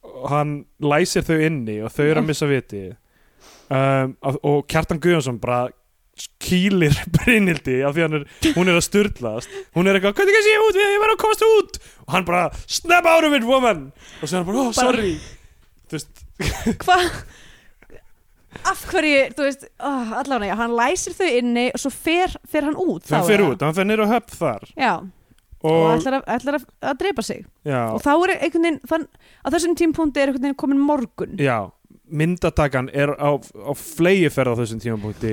S2: Og hann læsir þau inni og þau eru að missa viti um, og- og Kjartan Guðjónsson bara kýlir Brynildi af því hann er, hún er að styrlast hún er eitthvað, hvernig kannski ég út við, ég verður að komast út og hann bara, snap out of it woman og svo er hann bara, oh
S3: Bara-
S2: sorry þú veist,
S3: Hvað? Af hverju, þú veist, oh, allavega, já, hann læsir þau inni og svo fer, fer hann út
S2: hann
S3: þá,
S2: fer
S3: eða?
S2: út, hann fer niður á höfn þar
S3: Já,
S2: og,
S3: og, ætlar, að, ætlar að, að drepa sig
S2: já,
S3: og þá er einhvern veginn, þann, á þessum tímpúndi er einhvern veginn komin morgun
S2: já, myndatakan er á, á flegiferð á þessum tímapunkti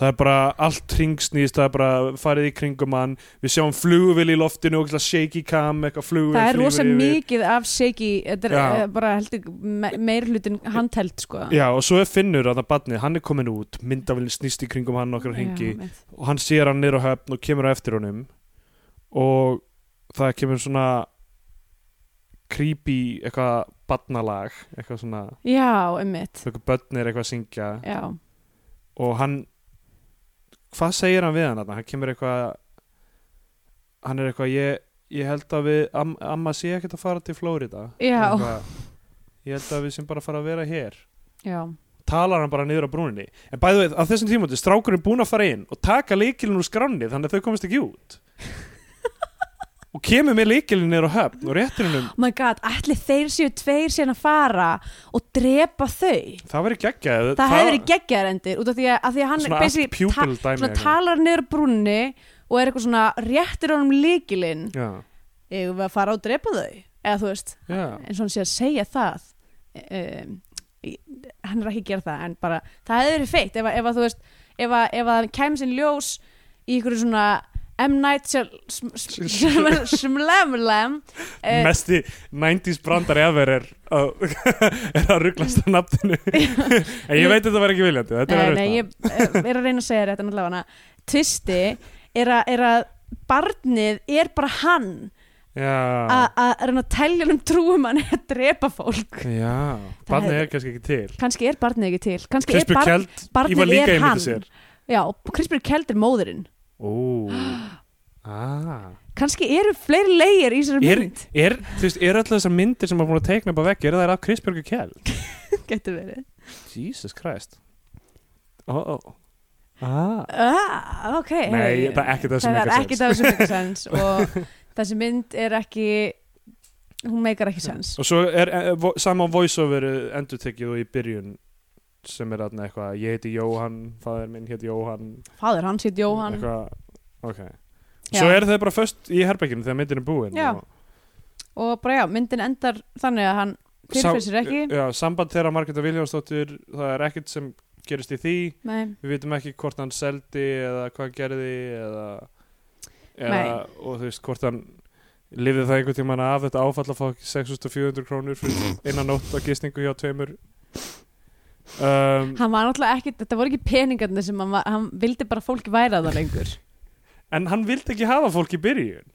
S2: það er bara allt ringsnýst það er bara farið í kringum hann við sjáum flugvil í loftinu og shaky cam, eitthvað flugvil
S3: Það er
S2: flýgur
S3: rosa
S2: yfir.
S3: mikið af shaky Þetta er
S2: Já.
S3: eh, bara heldur me meirlutin handheld sko
S2: já, og svo er Finnur að það badni, hann er komin út myndavillin snýst í kringum hann okkar hengi
S3: Já, mitt.
S2: og hann sér hann niður á höfn og kemur á eftir honum og það kemur svona creepy eitthvað badnalag eitthvað svona,
S3: Já, einmitt
S2: eitthvað börn er eitthvað að syngja
S3: Já,
S2: og hann hvað segir hann við hann þarna? hann kemur eitthvað hann er eitthvað ég, ég held að við am, amma sé ekkert að fara til Flórida
S3: Já.
S2: Eitthvað, ég held að við sem bara fara að vera hér
S3: já,
S2: talar hann bara niður á brúninni en bæðu veit, á þessum tímúti, strákur er búin að fara inn og taka leikilinn úr skránni þannig að þau komist ekki út og kemur með líkilinn niður á höfn og réttirinum,
S3: oh my god, ætli þeir séu tveir síðan að fara og drepa þau
S2: það væri geggjað
S3: það hefur verið geggjaðar endir út af því að, að því að hann
S2: Svona
S3: basically
S2: allt pupil
S3: ta-
S2: dæmi um.
S3: svona
S2: eitthvað.
S3: talar niður brúnni og er eitthvað svona réttir honum líkilinn
S2: já,
S3: eigum við að fara og drepa þau eða þú veist,
S2: já,
S3: eins og hann sé að segja það um, í- hann er ekki að gera það en bara, það hefði verið feitt ef, að- ef að þú veist, ef að, ef að hann kæmi sinn ljós í ykkur svona M. Night Shyamalan eh,
S2: mesti 90s brandar efer er að, er að rugglast á nafninu en ég veit að þetta væri ekki viljandi þetta
S3: Nei,
S2: er
S3: nei,
S2: erfitt
S3: ég eh, er að reyna að segja þér þetta en allavega Tvisti er, að- er að barnið er bara hann
S2: já,
S3: að að reyna að telja um trúum hann að drepa fólk
S2: já, barnið er kannski ekki til
S3: kannski er barnið ekki til kannski er
S2: Krispjör
S3: barn,
S2: Kjeld, ég var
S3: barnið
S2: líka
S3: er
S2: einmitt
S3: hann
S2: að sér
S3: já, og Krispjör Kjeld er móðurinn
S2: ó, aaa
S3: kannski eru fleiri leigir í þessari
S2: Er,
S3: mynd
S2: er, þú veist, er alltaf þessar myndir sem maður búin að teikna upp á veggi, eru þær af Krisbjörgu Kjell?
S3: getur verið
S2: Jesus Christ. Oh, oh. Ah,
S3: ah, ok,
S2: Nei,
S3: hey.
S2: það er ekkert það sem
S3: það er
S2: meikar sens.
S3: ekki það sem meikar sens og þessi mynd er ekki hún meikar ekki sens
S2: Og svo er e, vo, sama voiceover endurtekið og í byrjun sem er aðna eitthvað, ég heiti Jóhann, fadir minn heiti Jóhann.
S3: fáður hans hétt Jóhann
S2: Eitthvað, ok. Svo
S3: Já.
S2: eru þau bara föst í herberginu þegar myndin er búin.
S3: Já.
S2: og-
S3: og bara já, myndin endar þannig að hann
S2: Sá-
S3: fyrirfyrir sér ekki
S2: Já, samband þeirra Margreta Viljánsdóttir, það er ekkert sem gerist í því.
S3: Nei.
S2: við vitum ekki hvort hann seldi eða hvað hann gerði eða, eða
S3: Nei.
S2: og þú veist hvort hann lifið það einhvern tímann af þetta áfall að fá ekki 6400 krónur fyrir innan nótt á gistingu hjá tveimur um,
S3: hann var náttúrulega ekki, þetta voru ekki peningarnir sem hann, var, hann vildi bara að fólki væra það lengur
S2: en hann vildi ekki hafa fólk í byrjun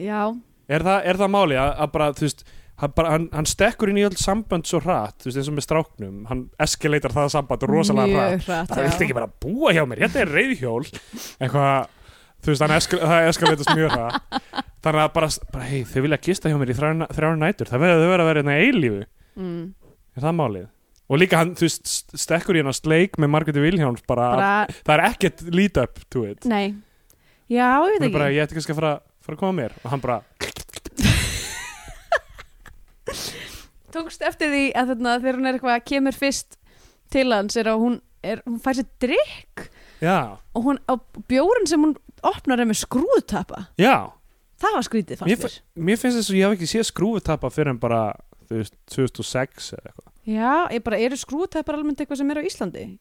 S3: já,
S2: er það, er það máli að, að bara þú veist hann, bara, hann, hann stekkur inn í öll sambönd svo hratt þú veist eins og með stráknum, hann eskileitar það samband rosalega hratt
S3: mjög hratt
S2: það
S3: já.
S2: viltu ekki bara búa hjá mér, þetta er reyðhjól eitthvað, þú veist, þannig eskal, það eskalatast mjög það þannig að bara, bara hei, þau vilja gista hjá mér í þrjár, þrjár nætur það verður þau verður að vera hérna eilífu
S3: mm,
S2: er það málið? Og líka hann, þú veist, st- stekkur í hennar sleik með Margreti Vilhjáns bara,
S3: bara,
S2: það er ekkert lead up to it
S3: nei já, ég
S2: hún
S3: veit
S2: er bara,
S3: ekki
S2: ég ætti kannski að fara, fara að koma mér og hann bara,
S3: tókst eftir því að þarna, þegar hún er eitthvað kemur fyrst til hans er að hún, er, hún fær sér drikk
S2: já,
S3: og hún, á bjórin sem hún opnar er með skrúðtapa
S2: já
S3: það var skrítið
S2: Mér
S3: fannst þér
S2: mér finnst þess að ég hef ekki séð skrúfutapa fyrir en bara, þú veist, 2006 eða eitthvað
S3: já, ég bara, eru skrúðtapar almennt eitthvað sem er á Íslandi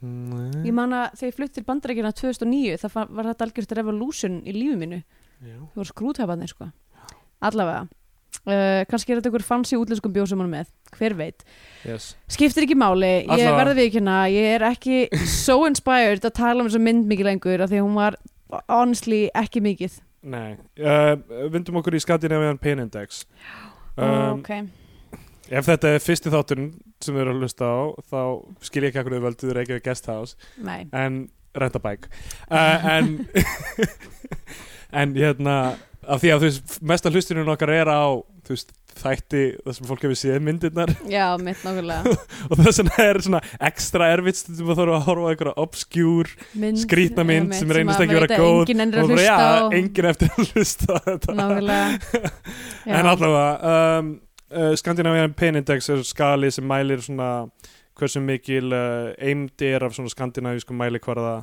S2: Mm.
S3: ég man að þegar ég flutt til bandarækina 2009 það fa- var þetta algjörst revolution í lífi mínu
S2: Já.
S3: það voru skrúðtafarnir sko allavega Uh, kannski er þetta ykkur fancy útlenskum bjór sem hún er með hver veit,
S2: yes.
S3: skiptir ekki máli ég
S2: Allavega.
S3: verða við ekki hérna, ég er ekki so inspired að tala um þessu mynd mikið lengur af því að hún var honestly ekki mikið
S2: Nei, uh, vindum okkur í Skandinavian Pain Index um,
S3: ok,
S2: Ef þetta er fyrsti þátturinn sem þau eru að hlusta á þá skil ég ekki akkur þau völdu þau Reykjavík Guest House
S3: nei
S2: en rentabæk uh, en en hérna af því að þú veist, mesta hlustunum okkar er á þú veist, þætti það sem fólk hefur séð myndirnar
S3: já, mitt nákvæmlega
S2: og þess vegna er svona ekstra erfitt stundum að þarf að horfa á einhverja obskjúr
S3: mynd,
S2: Skrýtna mynd
S3: einmitt,
S2: sem reynist
S3: að
S2: ekki
S3: maður
S2: vera
S3: veit að
S2: góð
S3: enginn ennir
S2: og
S3: að
S2: bara,
S3: hlusta
S2: já,
S3: og-
S2: enginn eftir að hlusta á þetta
S3: nákvæmlega Já.
S2: En allavega, um, uh, Skandinavian Pain Index er skali sem mælir svona hversu mikil uh, eimd er af svona skandinavísku mælikvarða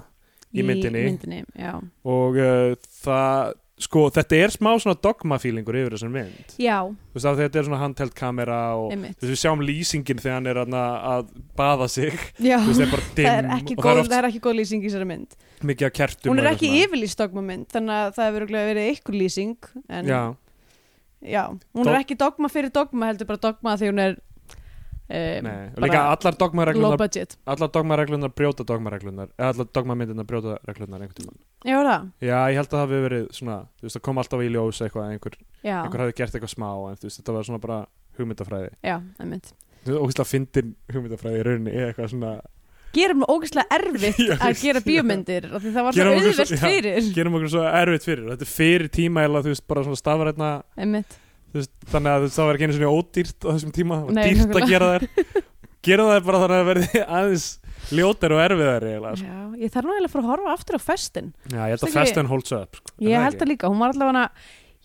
S2: í myndinni.
S3: myndinni já.
S2: og uh, það, sko, þetta er smá svona dogmafílingur yfir þessum mynd.
S3: já,
S2: Þú veist að þetta er svona handheld kamera og
S3: einmitt
S2: þú veist við sjáum lýsingin þegar hann er að, að baða sig,
S3: já.
S2: þú veist það er bara dimm
S3: það er ekki
S2: og
S3: góð,
S2: það er
S3: það
S2: oft
S3: er ekki góð lýsing í þessari mynd
S2: mikið að kertum.
S3: hún er
S2: og
S3: ekki
S2: eitthvað
S3: yfirlýst dogmamynd þannig að það hefur örugglega verið eitthvað lýsing en
S2: Já,
S3: já, hún
S2: Dog-
S3: er ekki dogma fyrir dogma heldur bara dogma því hún er um,
S2: nei, og
S3: bara
S2: líka allar
S3: low
S2: dogmareglunar,
S3: budget
S2: allar dogmareglunar brjóta dogmareglunar, eða allar dogmamyndirnar brjóta reglunar einhvern tímann.
S3: já, það,
S2: Já, ég held að það hafi verið svona, þú veist, það kom alltaf í ljós eitthvað að einhver,
S3: já,
S2: einhver hafi gert eitthvað smá en þú veist, þetta var svona bara hugmyndafræði
S3: já, einmitt
S2: Þú veist, ógæslega fyndin hugmyndafræði í rauninni er eitthvað svona,
S3: gerum það ógeðslega
S2: Já,
S3: erfitt að gera
S2: já.
S3: bíómyndir af því það var svo
S2: Gerum okkur svo-
S3: auðvelt
S2: já.
S3: fyrir
S2: gerum okkur svo erfitt fyrir þetta er fyrir tíma eða þú veist, bara svona stafrætna
S3: einmitt,
S2: þú veist, þannig að þú veist, það var ekki einu svona ódýrt á þessum tíma, það var
S3: Nei,
S2: dýrt
S3: nákvæmlega.
S2: að gera þær gera þær bara þannig að það verði aðeins ljótar og erfiðar eiginlega sko.
S3: já, ég þarf nú eiginlega að fara að horfa aftur á festin
S2: Já, ég held að
S3: Stakki-
S2: fest and holds up sko. Er
S3: Ég
S2: það
S3: held
S2: ekki?
S3: það líka, hún var allavega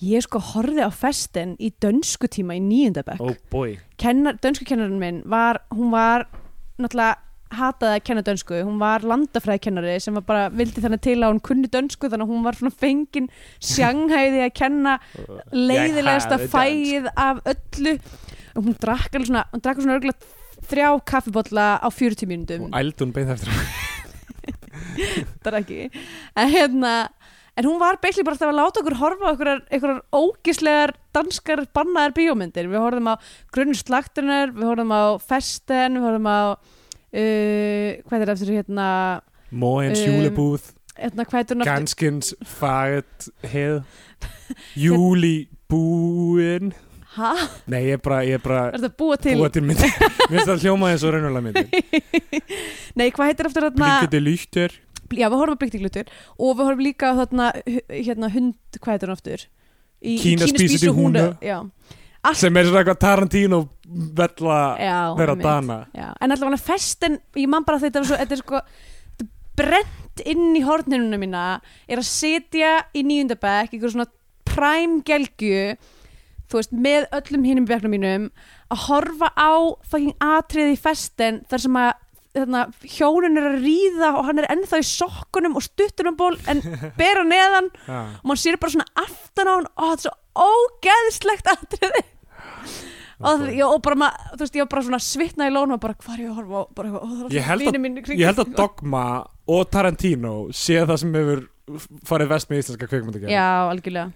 S3: ég sko horfið á festen í dönsku tíma í nýjöndabökk
S2: oh boy
S3: kennar, dönsku kennarinn minn var, hún var náttúrulega hataði að kenna dönsku, hún var landafræðkennari sem var bara, vildi þannig til að hún kunni dönsku þannig að hún var svona fengin sjanghæði að kenna leiðilegasta
S4: Ég hafi
S3: fæð af öllu og hún drakk alveg svona, hún drakk svona örgulega þrjá kaffibotla á 40 mínútum
S2: og ældun beint eftir
S3: þetta ekki en hérna En hún var beiklið bara alltaf að láta okkur horfa okkur einhverjar ógislegar danskar bannaðar bíómyndir. Við horfum á Grunnur slaktunar, við horfum á Festen, við horfum á uh, hvað er eftir hérna,
S2: Móens
S3: Um,
S2: júlebúð
S3: hérna hvað er hún aftur?
S2: Ganskins faget heð Júlibúin
S3: Hæ?
S2: Nei, ég er bara, ég er bara
S3: Er þetta búa til? Hérna-
S2: búa til myndi Mér finnst það hljóma eins og raunulega myndi
S3: Nei, hvað heitir aftur hérna?
S2: Blinkandi lýttur
S3: Já, við horfum á Bliktiglutur og við horfum líka á þarna, hu- hérna hund, hvað heitir hún aftur? Í,
S2: Kína spísið í húnu.
S3: Já,
S2: sem er svona eitthvað Tarantino vella
S3: já.
S2: vera
S3: einmitt.
S2: dana
S3: Já, en allavega festen, ég man bara þetta var svo, þetta er sko, þetta er brent inn í horninu mína, er að sitja í nýjöndabæk, ykkur svona prime gelgju, þú veist, með öllum hinum bekknum mínum, að horfa á fucking atriði í festen, þar sem að þarna, hjónin er að ríða og hann er ennþá í sokkunum og stuttunumból en bera neðan
S2: ja.
S3: og maður sér bara svona aftan á hann og þetta er svo ógeðslegt atriði og, það, ég, og bara maður, þú veist, ég var bara svona svitna í lónum og bara hvað er ég að horfa á bara eitthvað, og það
S2: Ég
S3: er
S2: held
S3: svona
S2: að-
S3: vínum mínu kring
S2: ég held að Dogma og Tarantino sé það sem hefur farið vest með íslenska kveikmyndagerð
S3: Já, algjörlega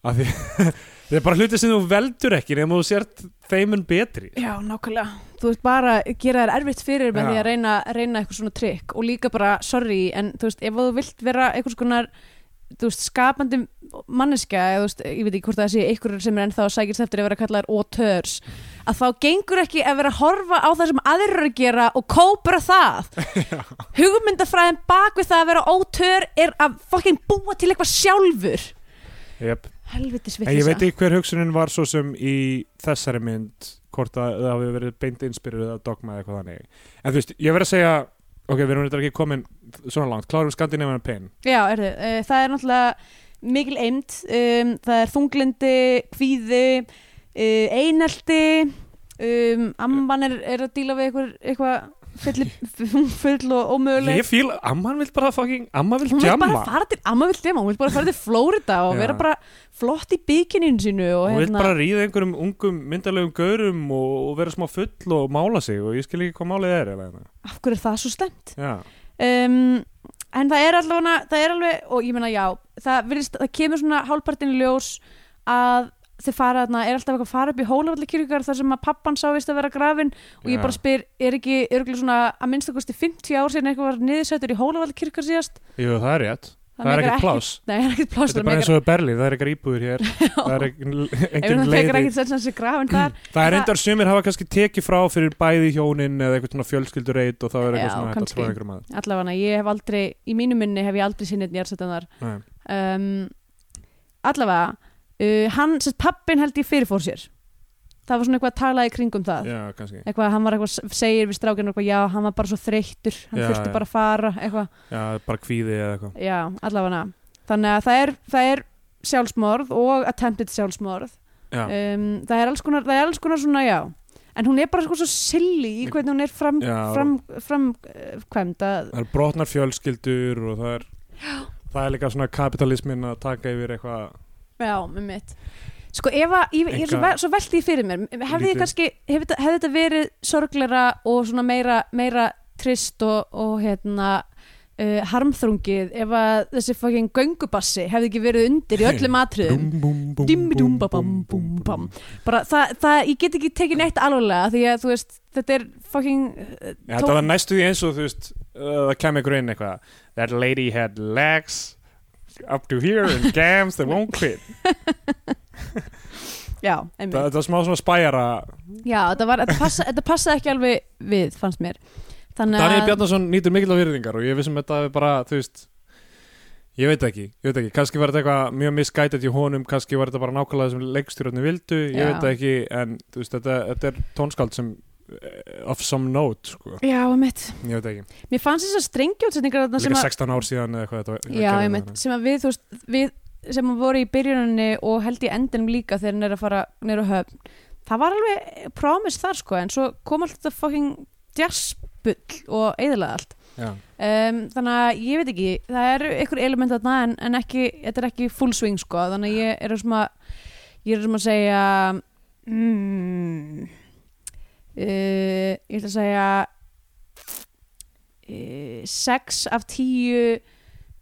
S2: því það er bara hluti sem þú veldur ekki nema þú sért þeimun betri
S3: Já, nákvæmlega Þú veist, bara gera þér erfitt fyrir með
S2: Já.
S3: því að reyna, reyna eitthvað svona trikk og líka bara, sorry, en þú veist, ef þú vilt vera einhvers konar þú veist, skapandi manneskja eða, þú veist, ég veit ekki hvort það sé einhverjur sem er ennþá sækist eftir að vera kallar auteurs
S2: Mhm.
S3: að þá gengur ekki að vera að horfa á það sem aðrir eru að gera og kópra það hugmyndafræðin bak við það að vera auteur er að fokkin búa til eitthvað sjálfur
S2: yep.
S3: helvitis
S2: en ég veit
S3: vitleisa
S2: ekki hver hugsunin var svo sem í þessari mynd hvort að það hafi verið beint inspirið að Dogma eða eitthvað þannig en þú veist, ég verð að segja ok, við erum þetta ekki komin svona langt klárum Skandinavian Pain
S3: Já, er, það er náttúrulega mikil eimt um, það er þunglindi, kvíði uh, einelti um, amman er, er að díla við eitthvað, eitthvað full, full og ómöguleg
S2: ég fíl, amman vil bara fucking amman vil
S3: hún vil bara
S2: jamma
S3: fara til, amma vil djama, hún vil bara fara til Flórida og
S2: Já.
S3: vera bara flott í bikininu sínu og
S2: Hún vil
S3: hérna,
S2: bara ríða einhverjum ungum myndarlegum gaurum og, og vera smá full og mála sig og ég skil ekki hvað málið er eða hérna.
S3: af hverju er það svo slemt
S2: Já,
S3: um, en það er allavega það er alveg, og ég meina já það, virðist, það kemur svona hálpartin ljós að þau fara þarna, er alltaf eitthvað að fara upp í hólafallakirkjar þar sem að pappan sá vist að vera grafin og ég
S2: Já.
S3: bara spyr, er ekki örgulega svona að minnstu kosti 50 ár síðan eitthvað var niðursættur í hólafallakirkjar síðast
S2: Jú, það er rétt. Það, er
S3: meikar
S2: ekkert pláss.
S3: nei, það er ekkert pláss
S2: Þetta er bara eins og í Berlín, það er ekkert íbúður hér, það er ekkert
S3: það fekar
S2: leiði.
S3: ekkert sens að þessi grafin þar
S2: Það er reyndar sumir hafa kannski tekið frá fyrir bæði hjónin eða eitthvað svona fjölskyldureit og þá er
S3: Já,
S2: eitthvað svona hægt að
S3: kannski.
S2: tróða einhverjum að.
S3: allavega, ég hef aldrei, í mínu minni hef ég aldrei sinnið nýjarsættanar
S2: Nei.
S3: um, allavega uh, hann, sérst pappin held ég fyrirfór sér það var svona eitthvað að tala í kringum það
S2: Já, kannski.
S3: eitthvað, hann var eitthvað, segir við strákinu eitthvað, já, hann var bara svo þreyttur hann
S2: Já,
S3: þurfti
S2: já.
S3: bara að fara, eitthvað
S2: Já, bara kvíði eða eitthvað.
S3: já, allavega, þannig að það er, það er sjálfsmorð og attempted sjálfsmorð
S2: Já,
S3: um, það er alls konar, það er alls konar svona, já en hún er bara sko svo silly í hvernig hún er fram,
S2: Já.
S3: fram, fram, fram, að,
S2: það er brotnar fjölskyldur og það er, það er líka svona kapitalismin að taka yfir eitthvað.
S3: Já, með mitt Sko ef að, ég, ég er svo,
S2: Enga-
S3: vel- svo velti ég fyrir mér hefði ég
S2: Lítið.
S3: kannski, hefði, þetta- hefði þetta verið sorglera og svona meira, meira trist og, og hérna uh, harmþrungið ef að þessi fucking göngubassi hefði ekki verið undir í öllum atriðum Dimmi dum ba bam bum bam bara það, það, ég get ekki tekið neitt alvarlega því að þú veist, þetta er fucking uh,
S2: Já, þetta var næstu því eins og þú veist uh, það kemur ykkur inn eitthvað That lady had legs up to here and gams that won't quit
S3: já,
S2: Það-
S3: einmitt
S2: Þetta var smá svona spæjara
S3: já, þetta, var, þetta, passa, þetta passaði ekki alveg við, fannst mér Þannig
S2: Daniel
S3: að,
S2: Bjarnason nýtur mikil af virðingar og ég vissum þetta er bara, þú veist Ég veit ekki, ég veit ekki, kannski var þetta eitthvað mjög misgætið í honum, kannski var þetta bara nákvæmlega sem leikstjórnir vildu, ég
S3: Já.
S2: veit það ekki en þú veist, þetta, þetta er tónskáld sem eh, of some note, sko
S3: já, einmitt
S2: ég veit ekki,
S3: Mér fannst þessar strengjótsetningar þarna sem
S2: líka
S3: að
S2: 16 ár síðan eða eitthvað þetta var-
S3: Já,
S2: gerði
S3: einmitt,
S2: þarna.
S3: sem að við, þú veist, við sem voru í byrjuninni og held í endinum líka þegar hann er að fara neyru höfn það var alveg promise þar sko en svo kom alltaf þetta fucking jazzbull og eðilega allt
S2: já,
S3: um, þannig að ég veit ekki það eru einhver element þarna en, en ekki, þetta er ekki full swing sko þannig að ég er sem að ég er sem að segja mm, uh, ég ætla að segja uh, 6 af 10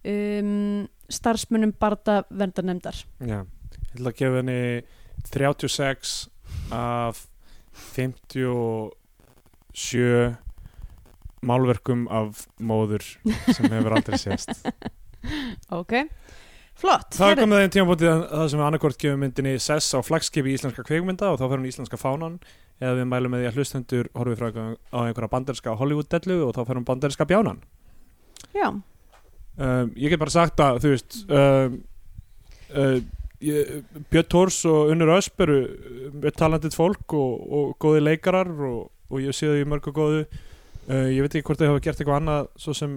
S3: um, starfsmunum barða verndarnemdar
S2: já ég ætla að gefa henni 36 af 57 málverkum af móður sem hefur aldrei sést
S3: ok, flott
S2: Það er
S3: Heyrðu,
S2: komið þeim tímabótið það sem við annarkort gefum myndinni sess á flagskipi íslenska kveikmynda og þá fer hún í íslenska fánan eða við mælum með því að hlustendur horfið frá á einhverja banderska Hollywood-dellu og þá fer hún banderska bjánan
S3: já,
S2: um, Ég get bara sagt að þú veist um, uh, ég- Björn Tórs og Unnur Ösp eru uh, talandið fólk og, og góði leikarar og, og ég sé þau í mörgu góðu uh, Ég veit ekki hvort þau hafa gert eitthvað annað svo sem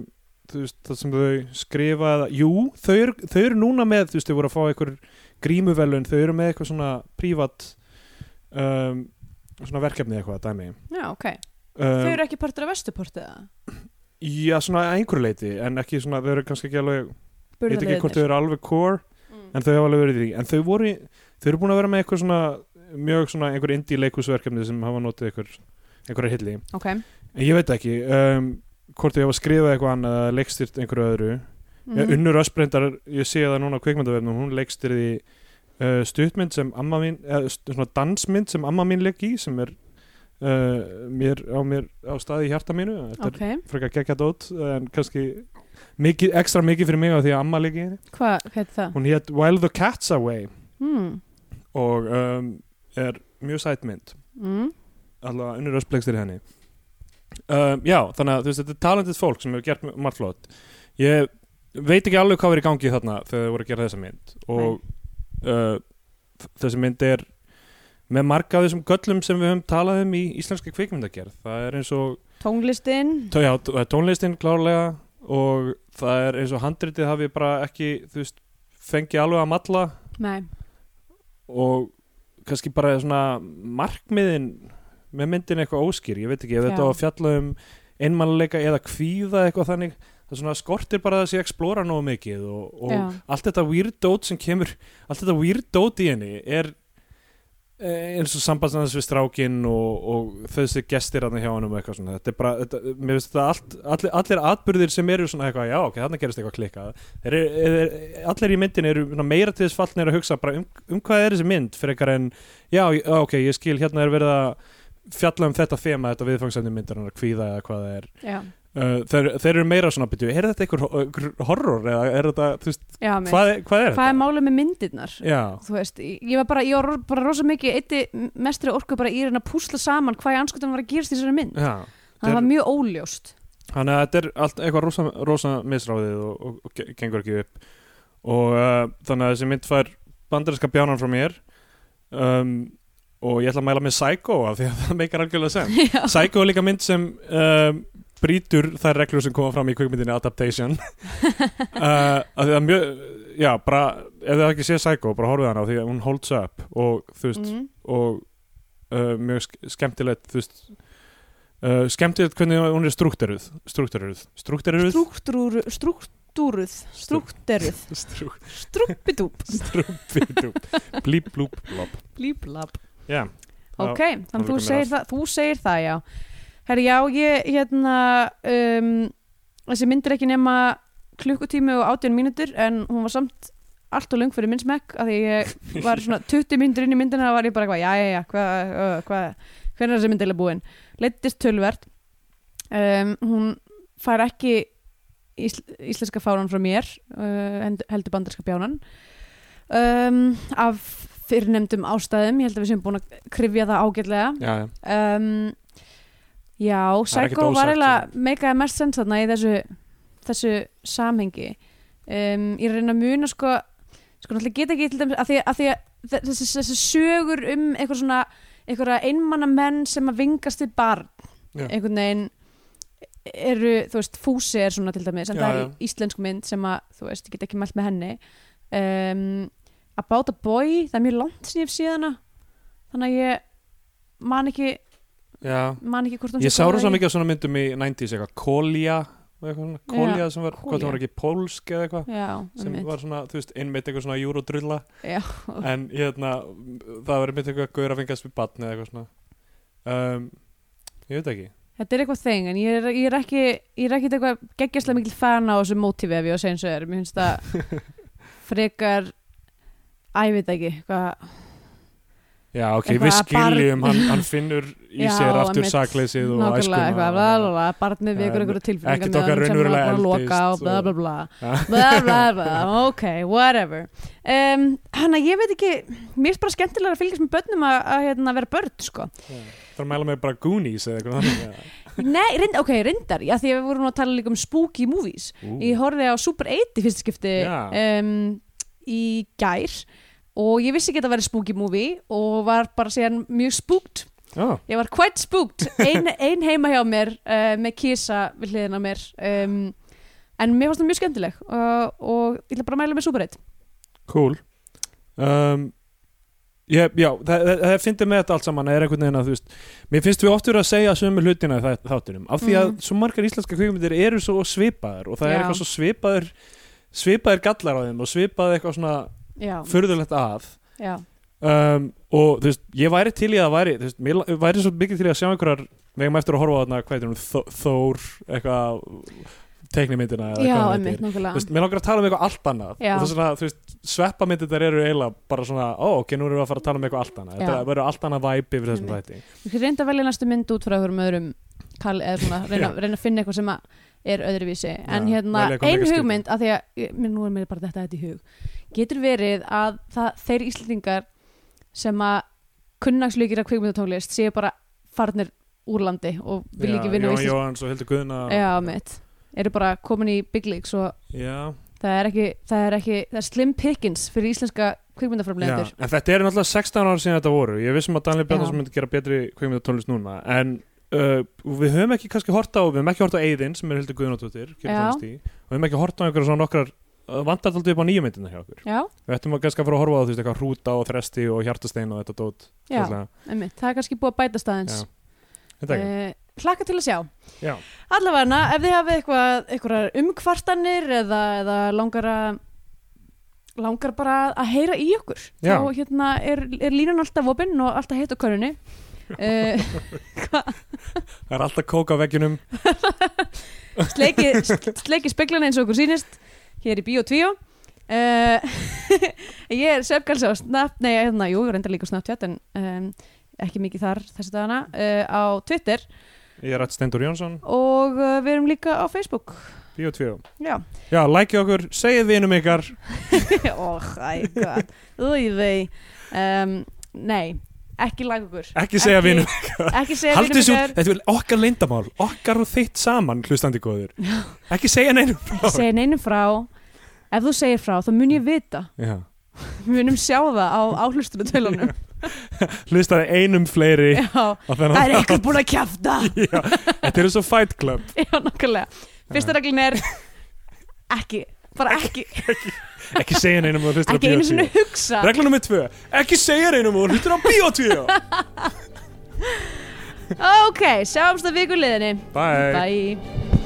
S2: þú veist, það sem þau skrifa eða, jú, þau eru, þau eru núna með þú veist, þau voru að fá einhver grímuvelun þau eru með eitthvað svona prívat um, svona verkefni eitthvað dæmi um,
S3: já, ok þau eru ekki partur af vestuportið eða?
S2: já, svona að einhverju leiti en ekki svona, þau eru kannski ekki alveg ég veit ekki hvort þau
S3: Burðarliðirnir.
S2: eru alveg core
S3: Mm.
S2: en þau hafa alveg verið í því en þau voru, í- þau eru búin að vera með eitthvað svona mjög svona einhver indie leikusverkefni sem hafa notið einhver, einhverja hilli
S3: ok,
S2: en ég veit ekki um, hvort þau hafa skrifað eitthvað annað eða leikstyrt einhverju öðru mm
S3: Mhm.
S2: Unnur Ösbreyndar, ég sé það núna á kveikmyndavefnum hún leikstyrir í uh, stuttmynd sem amma mín, eða st- svona dansmynd sem amma mín leik í sem er uh, mér, á mér á staði í hjarta mínu þetta
S3: ok,
S2: er frekar gekkja dót en kannski mikið, ekstra mikið fyrir mig á því að amma leik í henni
S3: hvað hvað er það?
S2: hún hétt While the Cat's Away
S3: Mm.
S2: og um, er mjög sætmynd
S3: Mm.
S2: allavega unnur ösplegstir henni um, já, þannig að þú veist, þetta er talendið fólk sem hefur gert m- margt flott ég veit ekki alveg hvað var í gangi þarna þegar þau voru að gera þessa mynd og uh, þ- þessi mynd er með marga af þessum göllum sem við höfum talað um í íslenska kvikmyndagerð það er eins og
S3: tónlistin
S2: Tó- Já, t- það er tónlistin klárlega og það er eins og handritið hafi bara ekki, þú veist, fengið alveg að matla
S3: Nei,
S2: og kannski bara svona markmiðin með myndin eitthvað óskýr, ég veit ekki, ef
S3: Já.
S2: þetta á að fjalla um einmannleika eða kvíða eitthvað þannig, það svona skortir bara að þessi explora nógu mikið og, og
S3: Já.
S2: allt þetta weird dót sem kemur, allt þetta weird dót í henni er eh, eins og sambandsnæðis við strákin og, og þessi gestir hann hjá hann og eitthvað svona, þetta er bara, þetta, mér finnst þetta allt, allir, allir atbyrðir sem eru svona eitthvað, já ok, þarna gerist eitthvað klikkað, þeir eru, er, allir í myndin eru svona meira til þess fallnir að hugsa bara um, um hvað er þessi mynd fyrir eitthvað en, já ég- ok, ég skil hérna er verið að fjalla um þetta þema, þetta viðfangsefni myndarinnar, kvíða eða hvað það er
S3: já,
S2: Uh, þeir, þeir eru meira svona byrju, er þetta einhver, ho- einhver horror eða er þetta, þú veist,
S3: já mér.
S2: hvað, er- hvað er
S3: Hvað er
S2: þetta?
S3: málið með myndirnar?
S2: Já,
S3: Þú veist, ég var bara, ég var ro- bara rosa mikið eitti mestri orku bara í hérna að púsla saman hvað í anskotan var að gerast í þessari mynd
S2: já
S3: Það
S2: þeir-
S3: var mjög óljóst
S2: þannig að þetta er allt eitthvað rosa, rosa misráðið og, og, og ge- gengur ekki upp og uh, þannig að þessi mynd fær bandarinska bjánan frá mér um, og ég ætla að mæla með Psycho af því að það meikar algjörlega sem
S3: Já,
S2: Psycho er líka mynd sem um, brýtur þær reglur sem koma fram í kvikmyndinni Adaptation uh, að því að mjög já, bara, ef þið hafa ekki séð Psycho bara horfið hana á því að hún holds up og þú veist,
S3: mm,
S2: og uh, mjög sk- skemmtilegt þú veist uh, skemmtilegt hvernig hún er struktúruð struktúruð struktúruð
S3: Strúktúru, strúktúruð Strúkteruð,
S2: Strú-
S3: strúppidúp
S2: strúpidú. blíp blúp blop
S3: Blíblab
S2: já
S3: Ok,
S2: það
S3: þannig
S2: líka
S3: þú
S2: mér
S3: segir
S2: allt.
S3: það, þú segir það, já Herri, já, ég, hérna um, þessi mynd er ekki nema klukkutími og átján mínútur en hún var samt allt og lung fyrir minn smekk af því ég var svona 20 mínútur inn í myndina og var ég bara eitthvað, já, já, já, hvað uh, hvað, hvernig er þessi mynd eða búin leittist tölvert um, hún fær ekki ísl, íslenska fáran frá mér uh, hend- heldur bandarska bjánan um, af fyrirnefndum ástæðum, ég held að við séum búin að krifja það ágætlega
S2: já, já.
S3: um, Já,
S2: Það er ekkert
S3: Psycho var
S2: ósagt, sko.
S3: eiginlega meikaði mest sens þarna í þessu, þessu samhengi um, Ég er að reyna að muna sko, sko náttúrulega get ekki til dæmis að því að, því að þe- þessi, þessi sögur um eitthvað svona einhverja einmanna menn sem að vingast við barn
S2: Já.
S3: einhvern veginn eru, þú veist, fúsi er svona til dæmis en
S2: Já,
S3: það er
S2: já.
S3: íslensk mynd sem að þú veist, ég get ekki mælt með henni um, About a Boy, það er mjög langt sem ég hef síðana þannig að ég man ekki,
S2: Já,
S3: man ekki hvort hún
S2: ég
S3: sé
S2: sá
S3: góð eða
S2: rosa
S3: ekki.
S2: mikið af svona myndum í 90s eitthvað, Kolja og eitthvað svona, Kolja sem var, hvað
S3: Kolja.
S2: það var ekki pólsk eða eitthvað
S3: Já,
S2: sem
S3: einmitt.
S2: var svona, þú veist, innmitt eitthvað svona júródrulla
S3: Já.
S2: en hérna, það var einmitt eitthvað gaur að fengast við batni eða eitthvað svona um, ég veit ekki
S3: Þetta er eitthvað þing, en ég er, ég er ekki ég er ekki eitthvað geggjastlega mikil fan á þessu mótífi ef ég á að segja eins og er, mér finnst það frekar Æ, ég veit það ekki, hvað
S2: Já, ok, við
S3: Eitthvað að barn-
S2: skiljum, hann, hann finnur í
S3: Já,
S2: sér aftur
S3: einmitt.
S2: sakleysið og
S3: nákvæmlega eitthvað, bla bla
S2: æskuna
S3: bla, barnið
S2: Já,
S3: vekur einhverja tilfinningar
S2: ekkert
S3: með
S2: okkar
S3: honum sem
S2: raunverulega
S3: hann var búinn að loka
S2: eldist
S3: og bla
S2: og-
S3: bla bla
S2: Já.
S3: bla bla bla, ok, whatever um, hann að ég veit ekki mér finnst bara skemmtilega að fylgjast með börnum að, að hérna, vera börn, sko
S2: Það er að mæla með bara Goonies eða eitthvað þannig eða?
S3: Nei, reynd, ok, reyndar, já því að við vorum nú að tala líka um spooky movies
S2: Ú.
S3: Ég horfði á Super 8 í fyrsta skipti
S2: Já.
S3: um, í gær og ég vissi ekki að það væri spooky movie og var bara síðan mjög spookt
S2: Já,
S3: Ég var quite spooked, ein, ein heima hjá mér uh, með kísa við hliðina á mér um, en mér fannst það mjög skemmtileg uh, og ég ætla bara að mæla með Super 8
S2: cool um, ég, Já, það, það, það fyndi með þetta allt saman er einhvern veginn að þú veist Mér finnst við oft verið að segja sömu hlutina í þæ- þáttunum af því að
S3: Mhm.
S2: svo margar íslenska kvikmyndir eru svo svipaðar og það
S3: Já.
S2: er eitthvað svo svipaður svipaðir gallar á þeim og svipaði eitthvað svona
S3: Já,
S2: furðulegt að
S3: já,
S2: um, og þú veist, ég væri til í að væri, þú veist, mér la- væri svo mikið til í að sjá einhverjar, við eigum eftir að horfa á þarna hvað heitir hún, Þó- Þór, eitthvað teiknimyndina eða
S3: já,
S2: hvað hún heitir.
S3: emmitt,
S2: Þú veist,
S3: nákvæmlega
S2: mér langar að tala um eitthvað allt annað
S3: Já.
S2: og þess að þú veist, sveppamyndir þar eru eiginlega bara svona, ó, ok, nú erum við að fara að tala um eitthvað allt annað,
S3: Já.
S2: þetta verður allt annað væpi yfir þessum
S3: Einmitt.
S2: þætti.
S3: Ég reynda að velja næstu mynd út frá einhverjum öðrum kall, eða svona, reyna, reyna að finna eitthvað sem að er öðruvísi en
S2: Já,
S3: hérna,
S2: velja eitthvað
S3: ein
S2: meira skrítið.
S3: hugmynd af því að, ég- mér nú er mér bara þetta þetta í hug getur verið að það, þeir Íslendingar sem að kunnagslugir af kvikmyndatónlist séu bara farnir úr landi og vil ekki
S2: Jón
S3: vinna á Íslands-
S2: Jóhanns og Hildur Guðna
S3: Já, mitt, eru bara komin í Big Leagues og
S2: Já.
S3: það er ekki það er, ekki, það er slim pickings fyrir íslenska
S2: Já.
S3: kvikmyndaframlegendur
S2: En þetta er náttúrulega 16 ára síðan þetta voru, ég vissum að Daniel Bjarnason
S3: Já.
S2: myndi gera betri kveikmyndatónlist núna, en uh, við höfum ekki kannski hort á, við höfum ekki hort á Eiðin sem er Hildur Guðnóttur, og
S3: Já.
S2: við höfum ekki hort á einhverja svona nokkrar vandar aldrei upp á nýju myndina hjá okkur
S3: Já,
S2: við ættum að kannski að fara að horfa á þú veist eitthvað hrúta og þresti og hjartastein og þetta dót
S3: já,
S2: Svolítið.
S3: einmitt, það er kannski búið að bæta staðins
S2: Hérna. Já. Þetta ekki.
S3: Eh, Hlakka til að sjá
S2: Já.
S3: Allavega, ef þið hafið eitthvað, eitthvað umkvartanir eða, eða langar að langar bara að heyra í okkur
S2: Já.
S3: þá hérna er, er línan alltaf opinn og alltaf heitt á körunni uh,
S2: Það er alltaf kók á veggjunum
S3: sleiki, sleiki speglana eins og okkur sýnist hér í Bíó 2 uh, ég er söfgalsi á Snap nei, hérna, jú, ég reyndar líka á Snapchat en um, ekki mikið þar þessi dagana uh, á Twitter
S2: Ég er Rætt Steindur Jónsson,
S3: og uh, við erum líka á Facebook
S2: Bíó 2
S3: já
S2: Já, lækið okkur, segið vinum ykkar
S3: oh, æ, hvað Új, vei um, Nei, ekki lag okkur
S2: Ekki segja vinum
S3: Ekki segja
S2: Haldið
S3: vinum
S2: þessu,
S3: ykkar
S2: þetta er okkar leyndamál Okkar og þitt saman, hlustandi góður Ekki segja neinum
S3: Ekki segja neinum frá Ef þú segir frá, þá mun ég vita
S2: Já.
S3: Við munum sjá það á áhlustunatölunum
S2: Hlustaði einum fleiri
S3: Já, það
S2: á þennan
S3: er
S2: þátt.
S3: einhver búin að kjafta
S2: Já, Þetta eru svo fight club
S3: Já, nokkulega Fyrsta reglun er Ekki, bara ekki
S2: Ekki segja neinum og hlustar á
S3: Ekki
S2: Bíó
S3: einu sinni
S2: 2
S3: hugsa
S2: Regla nummið tvö, ekki segja neinum og hlustar á Bíó 2
S3: Ok, sjáumst að viku liðinni
S2: Bye
S3: Bye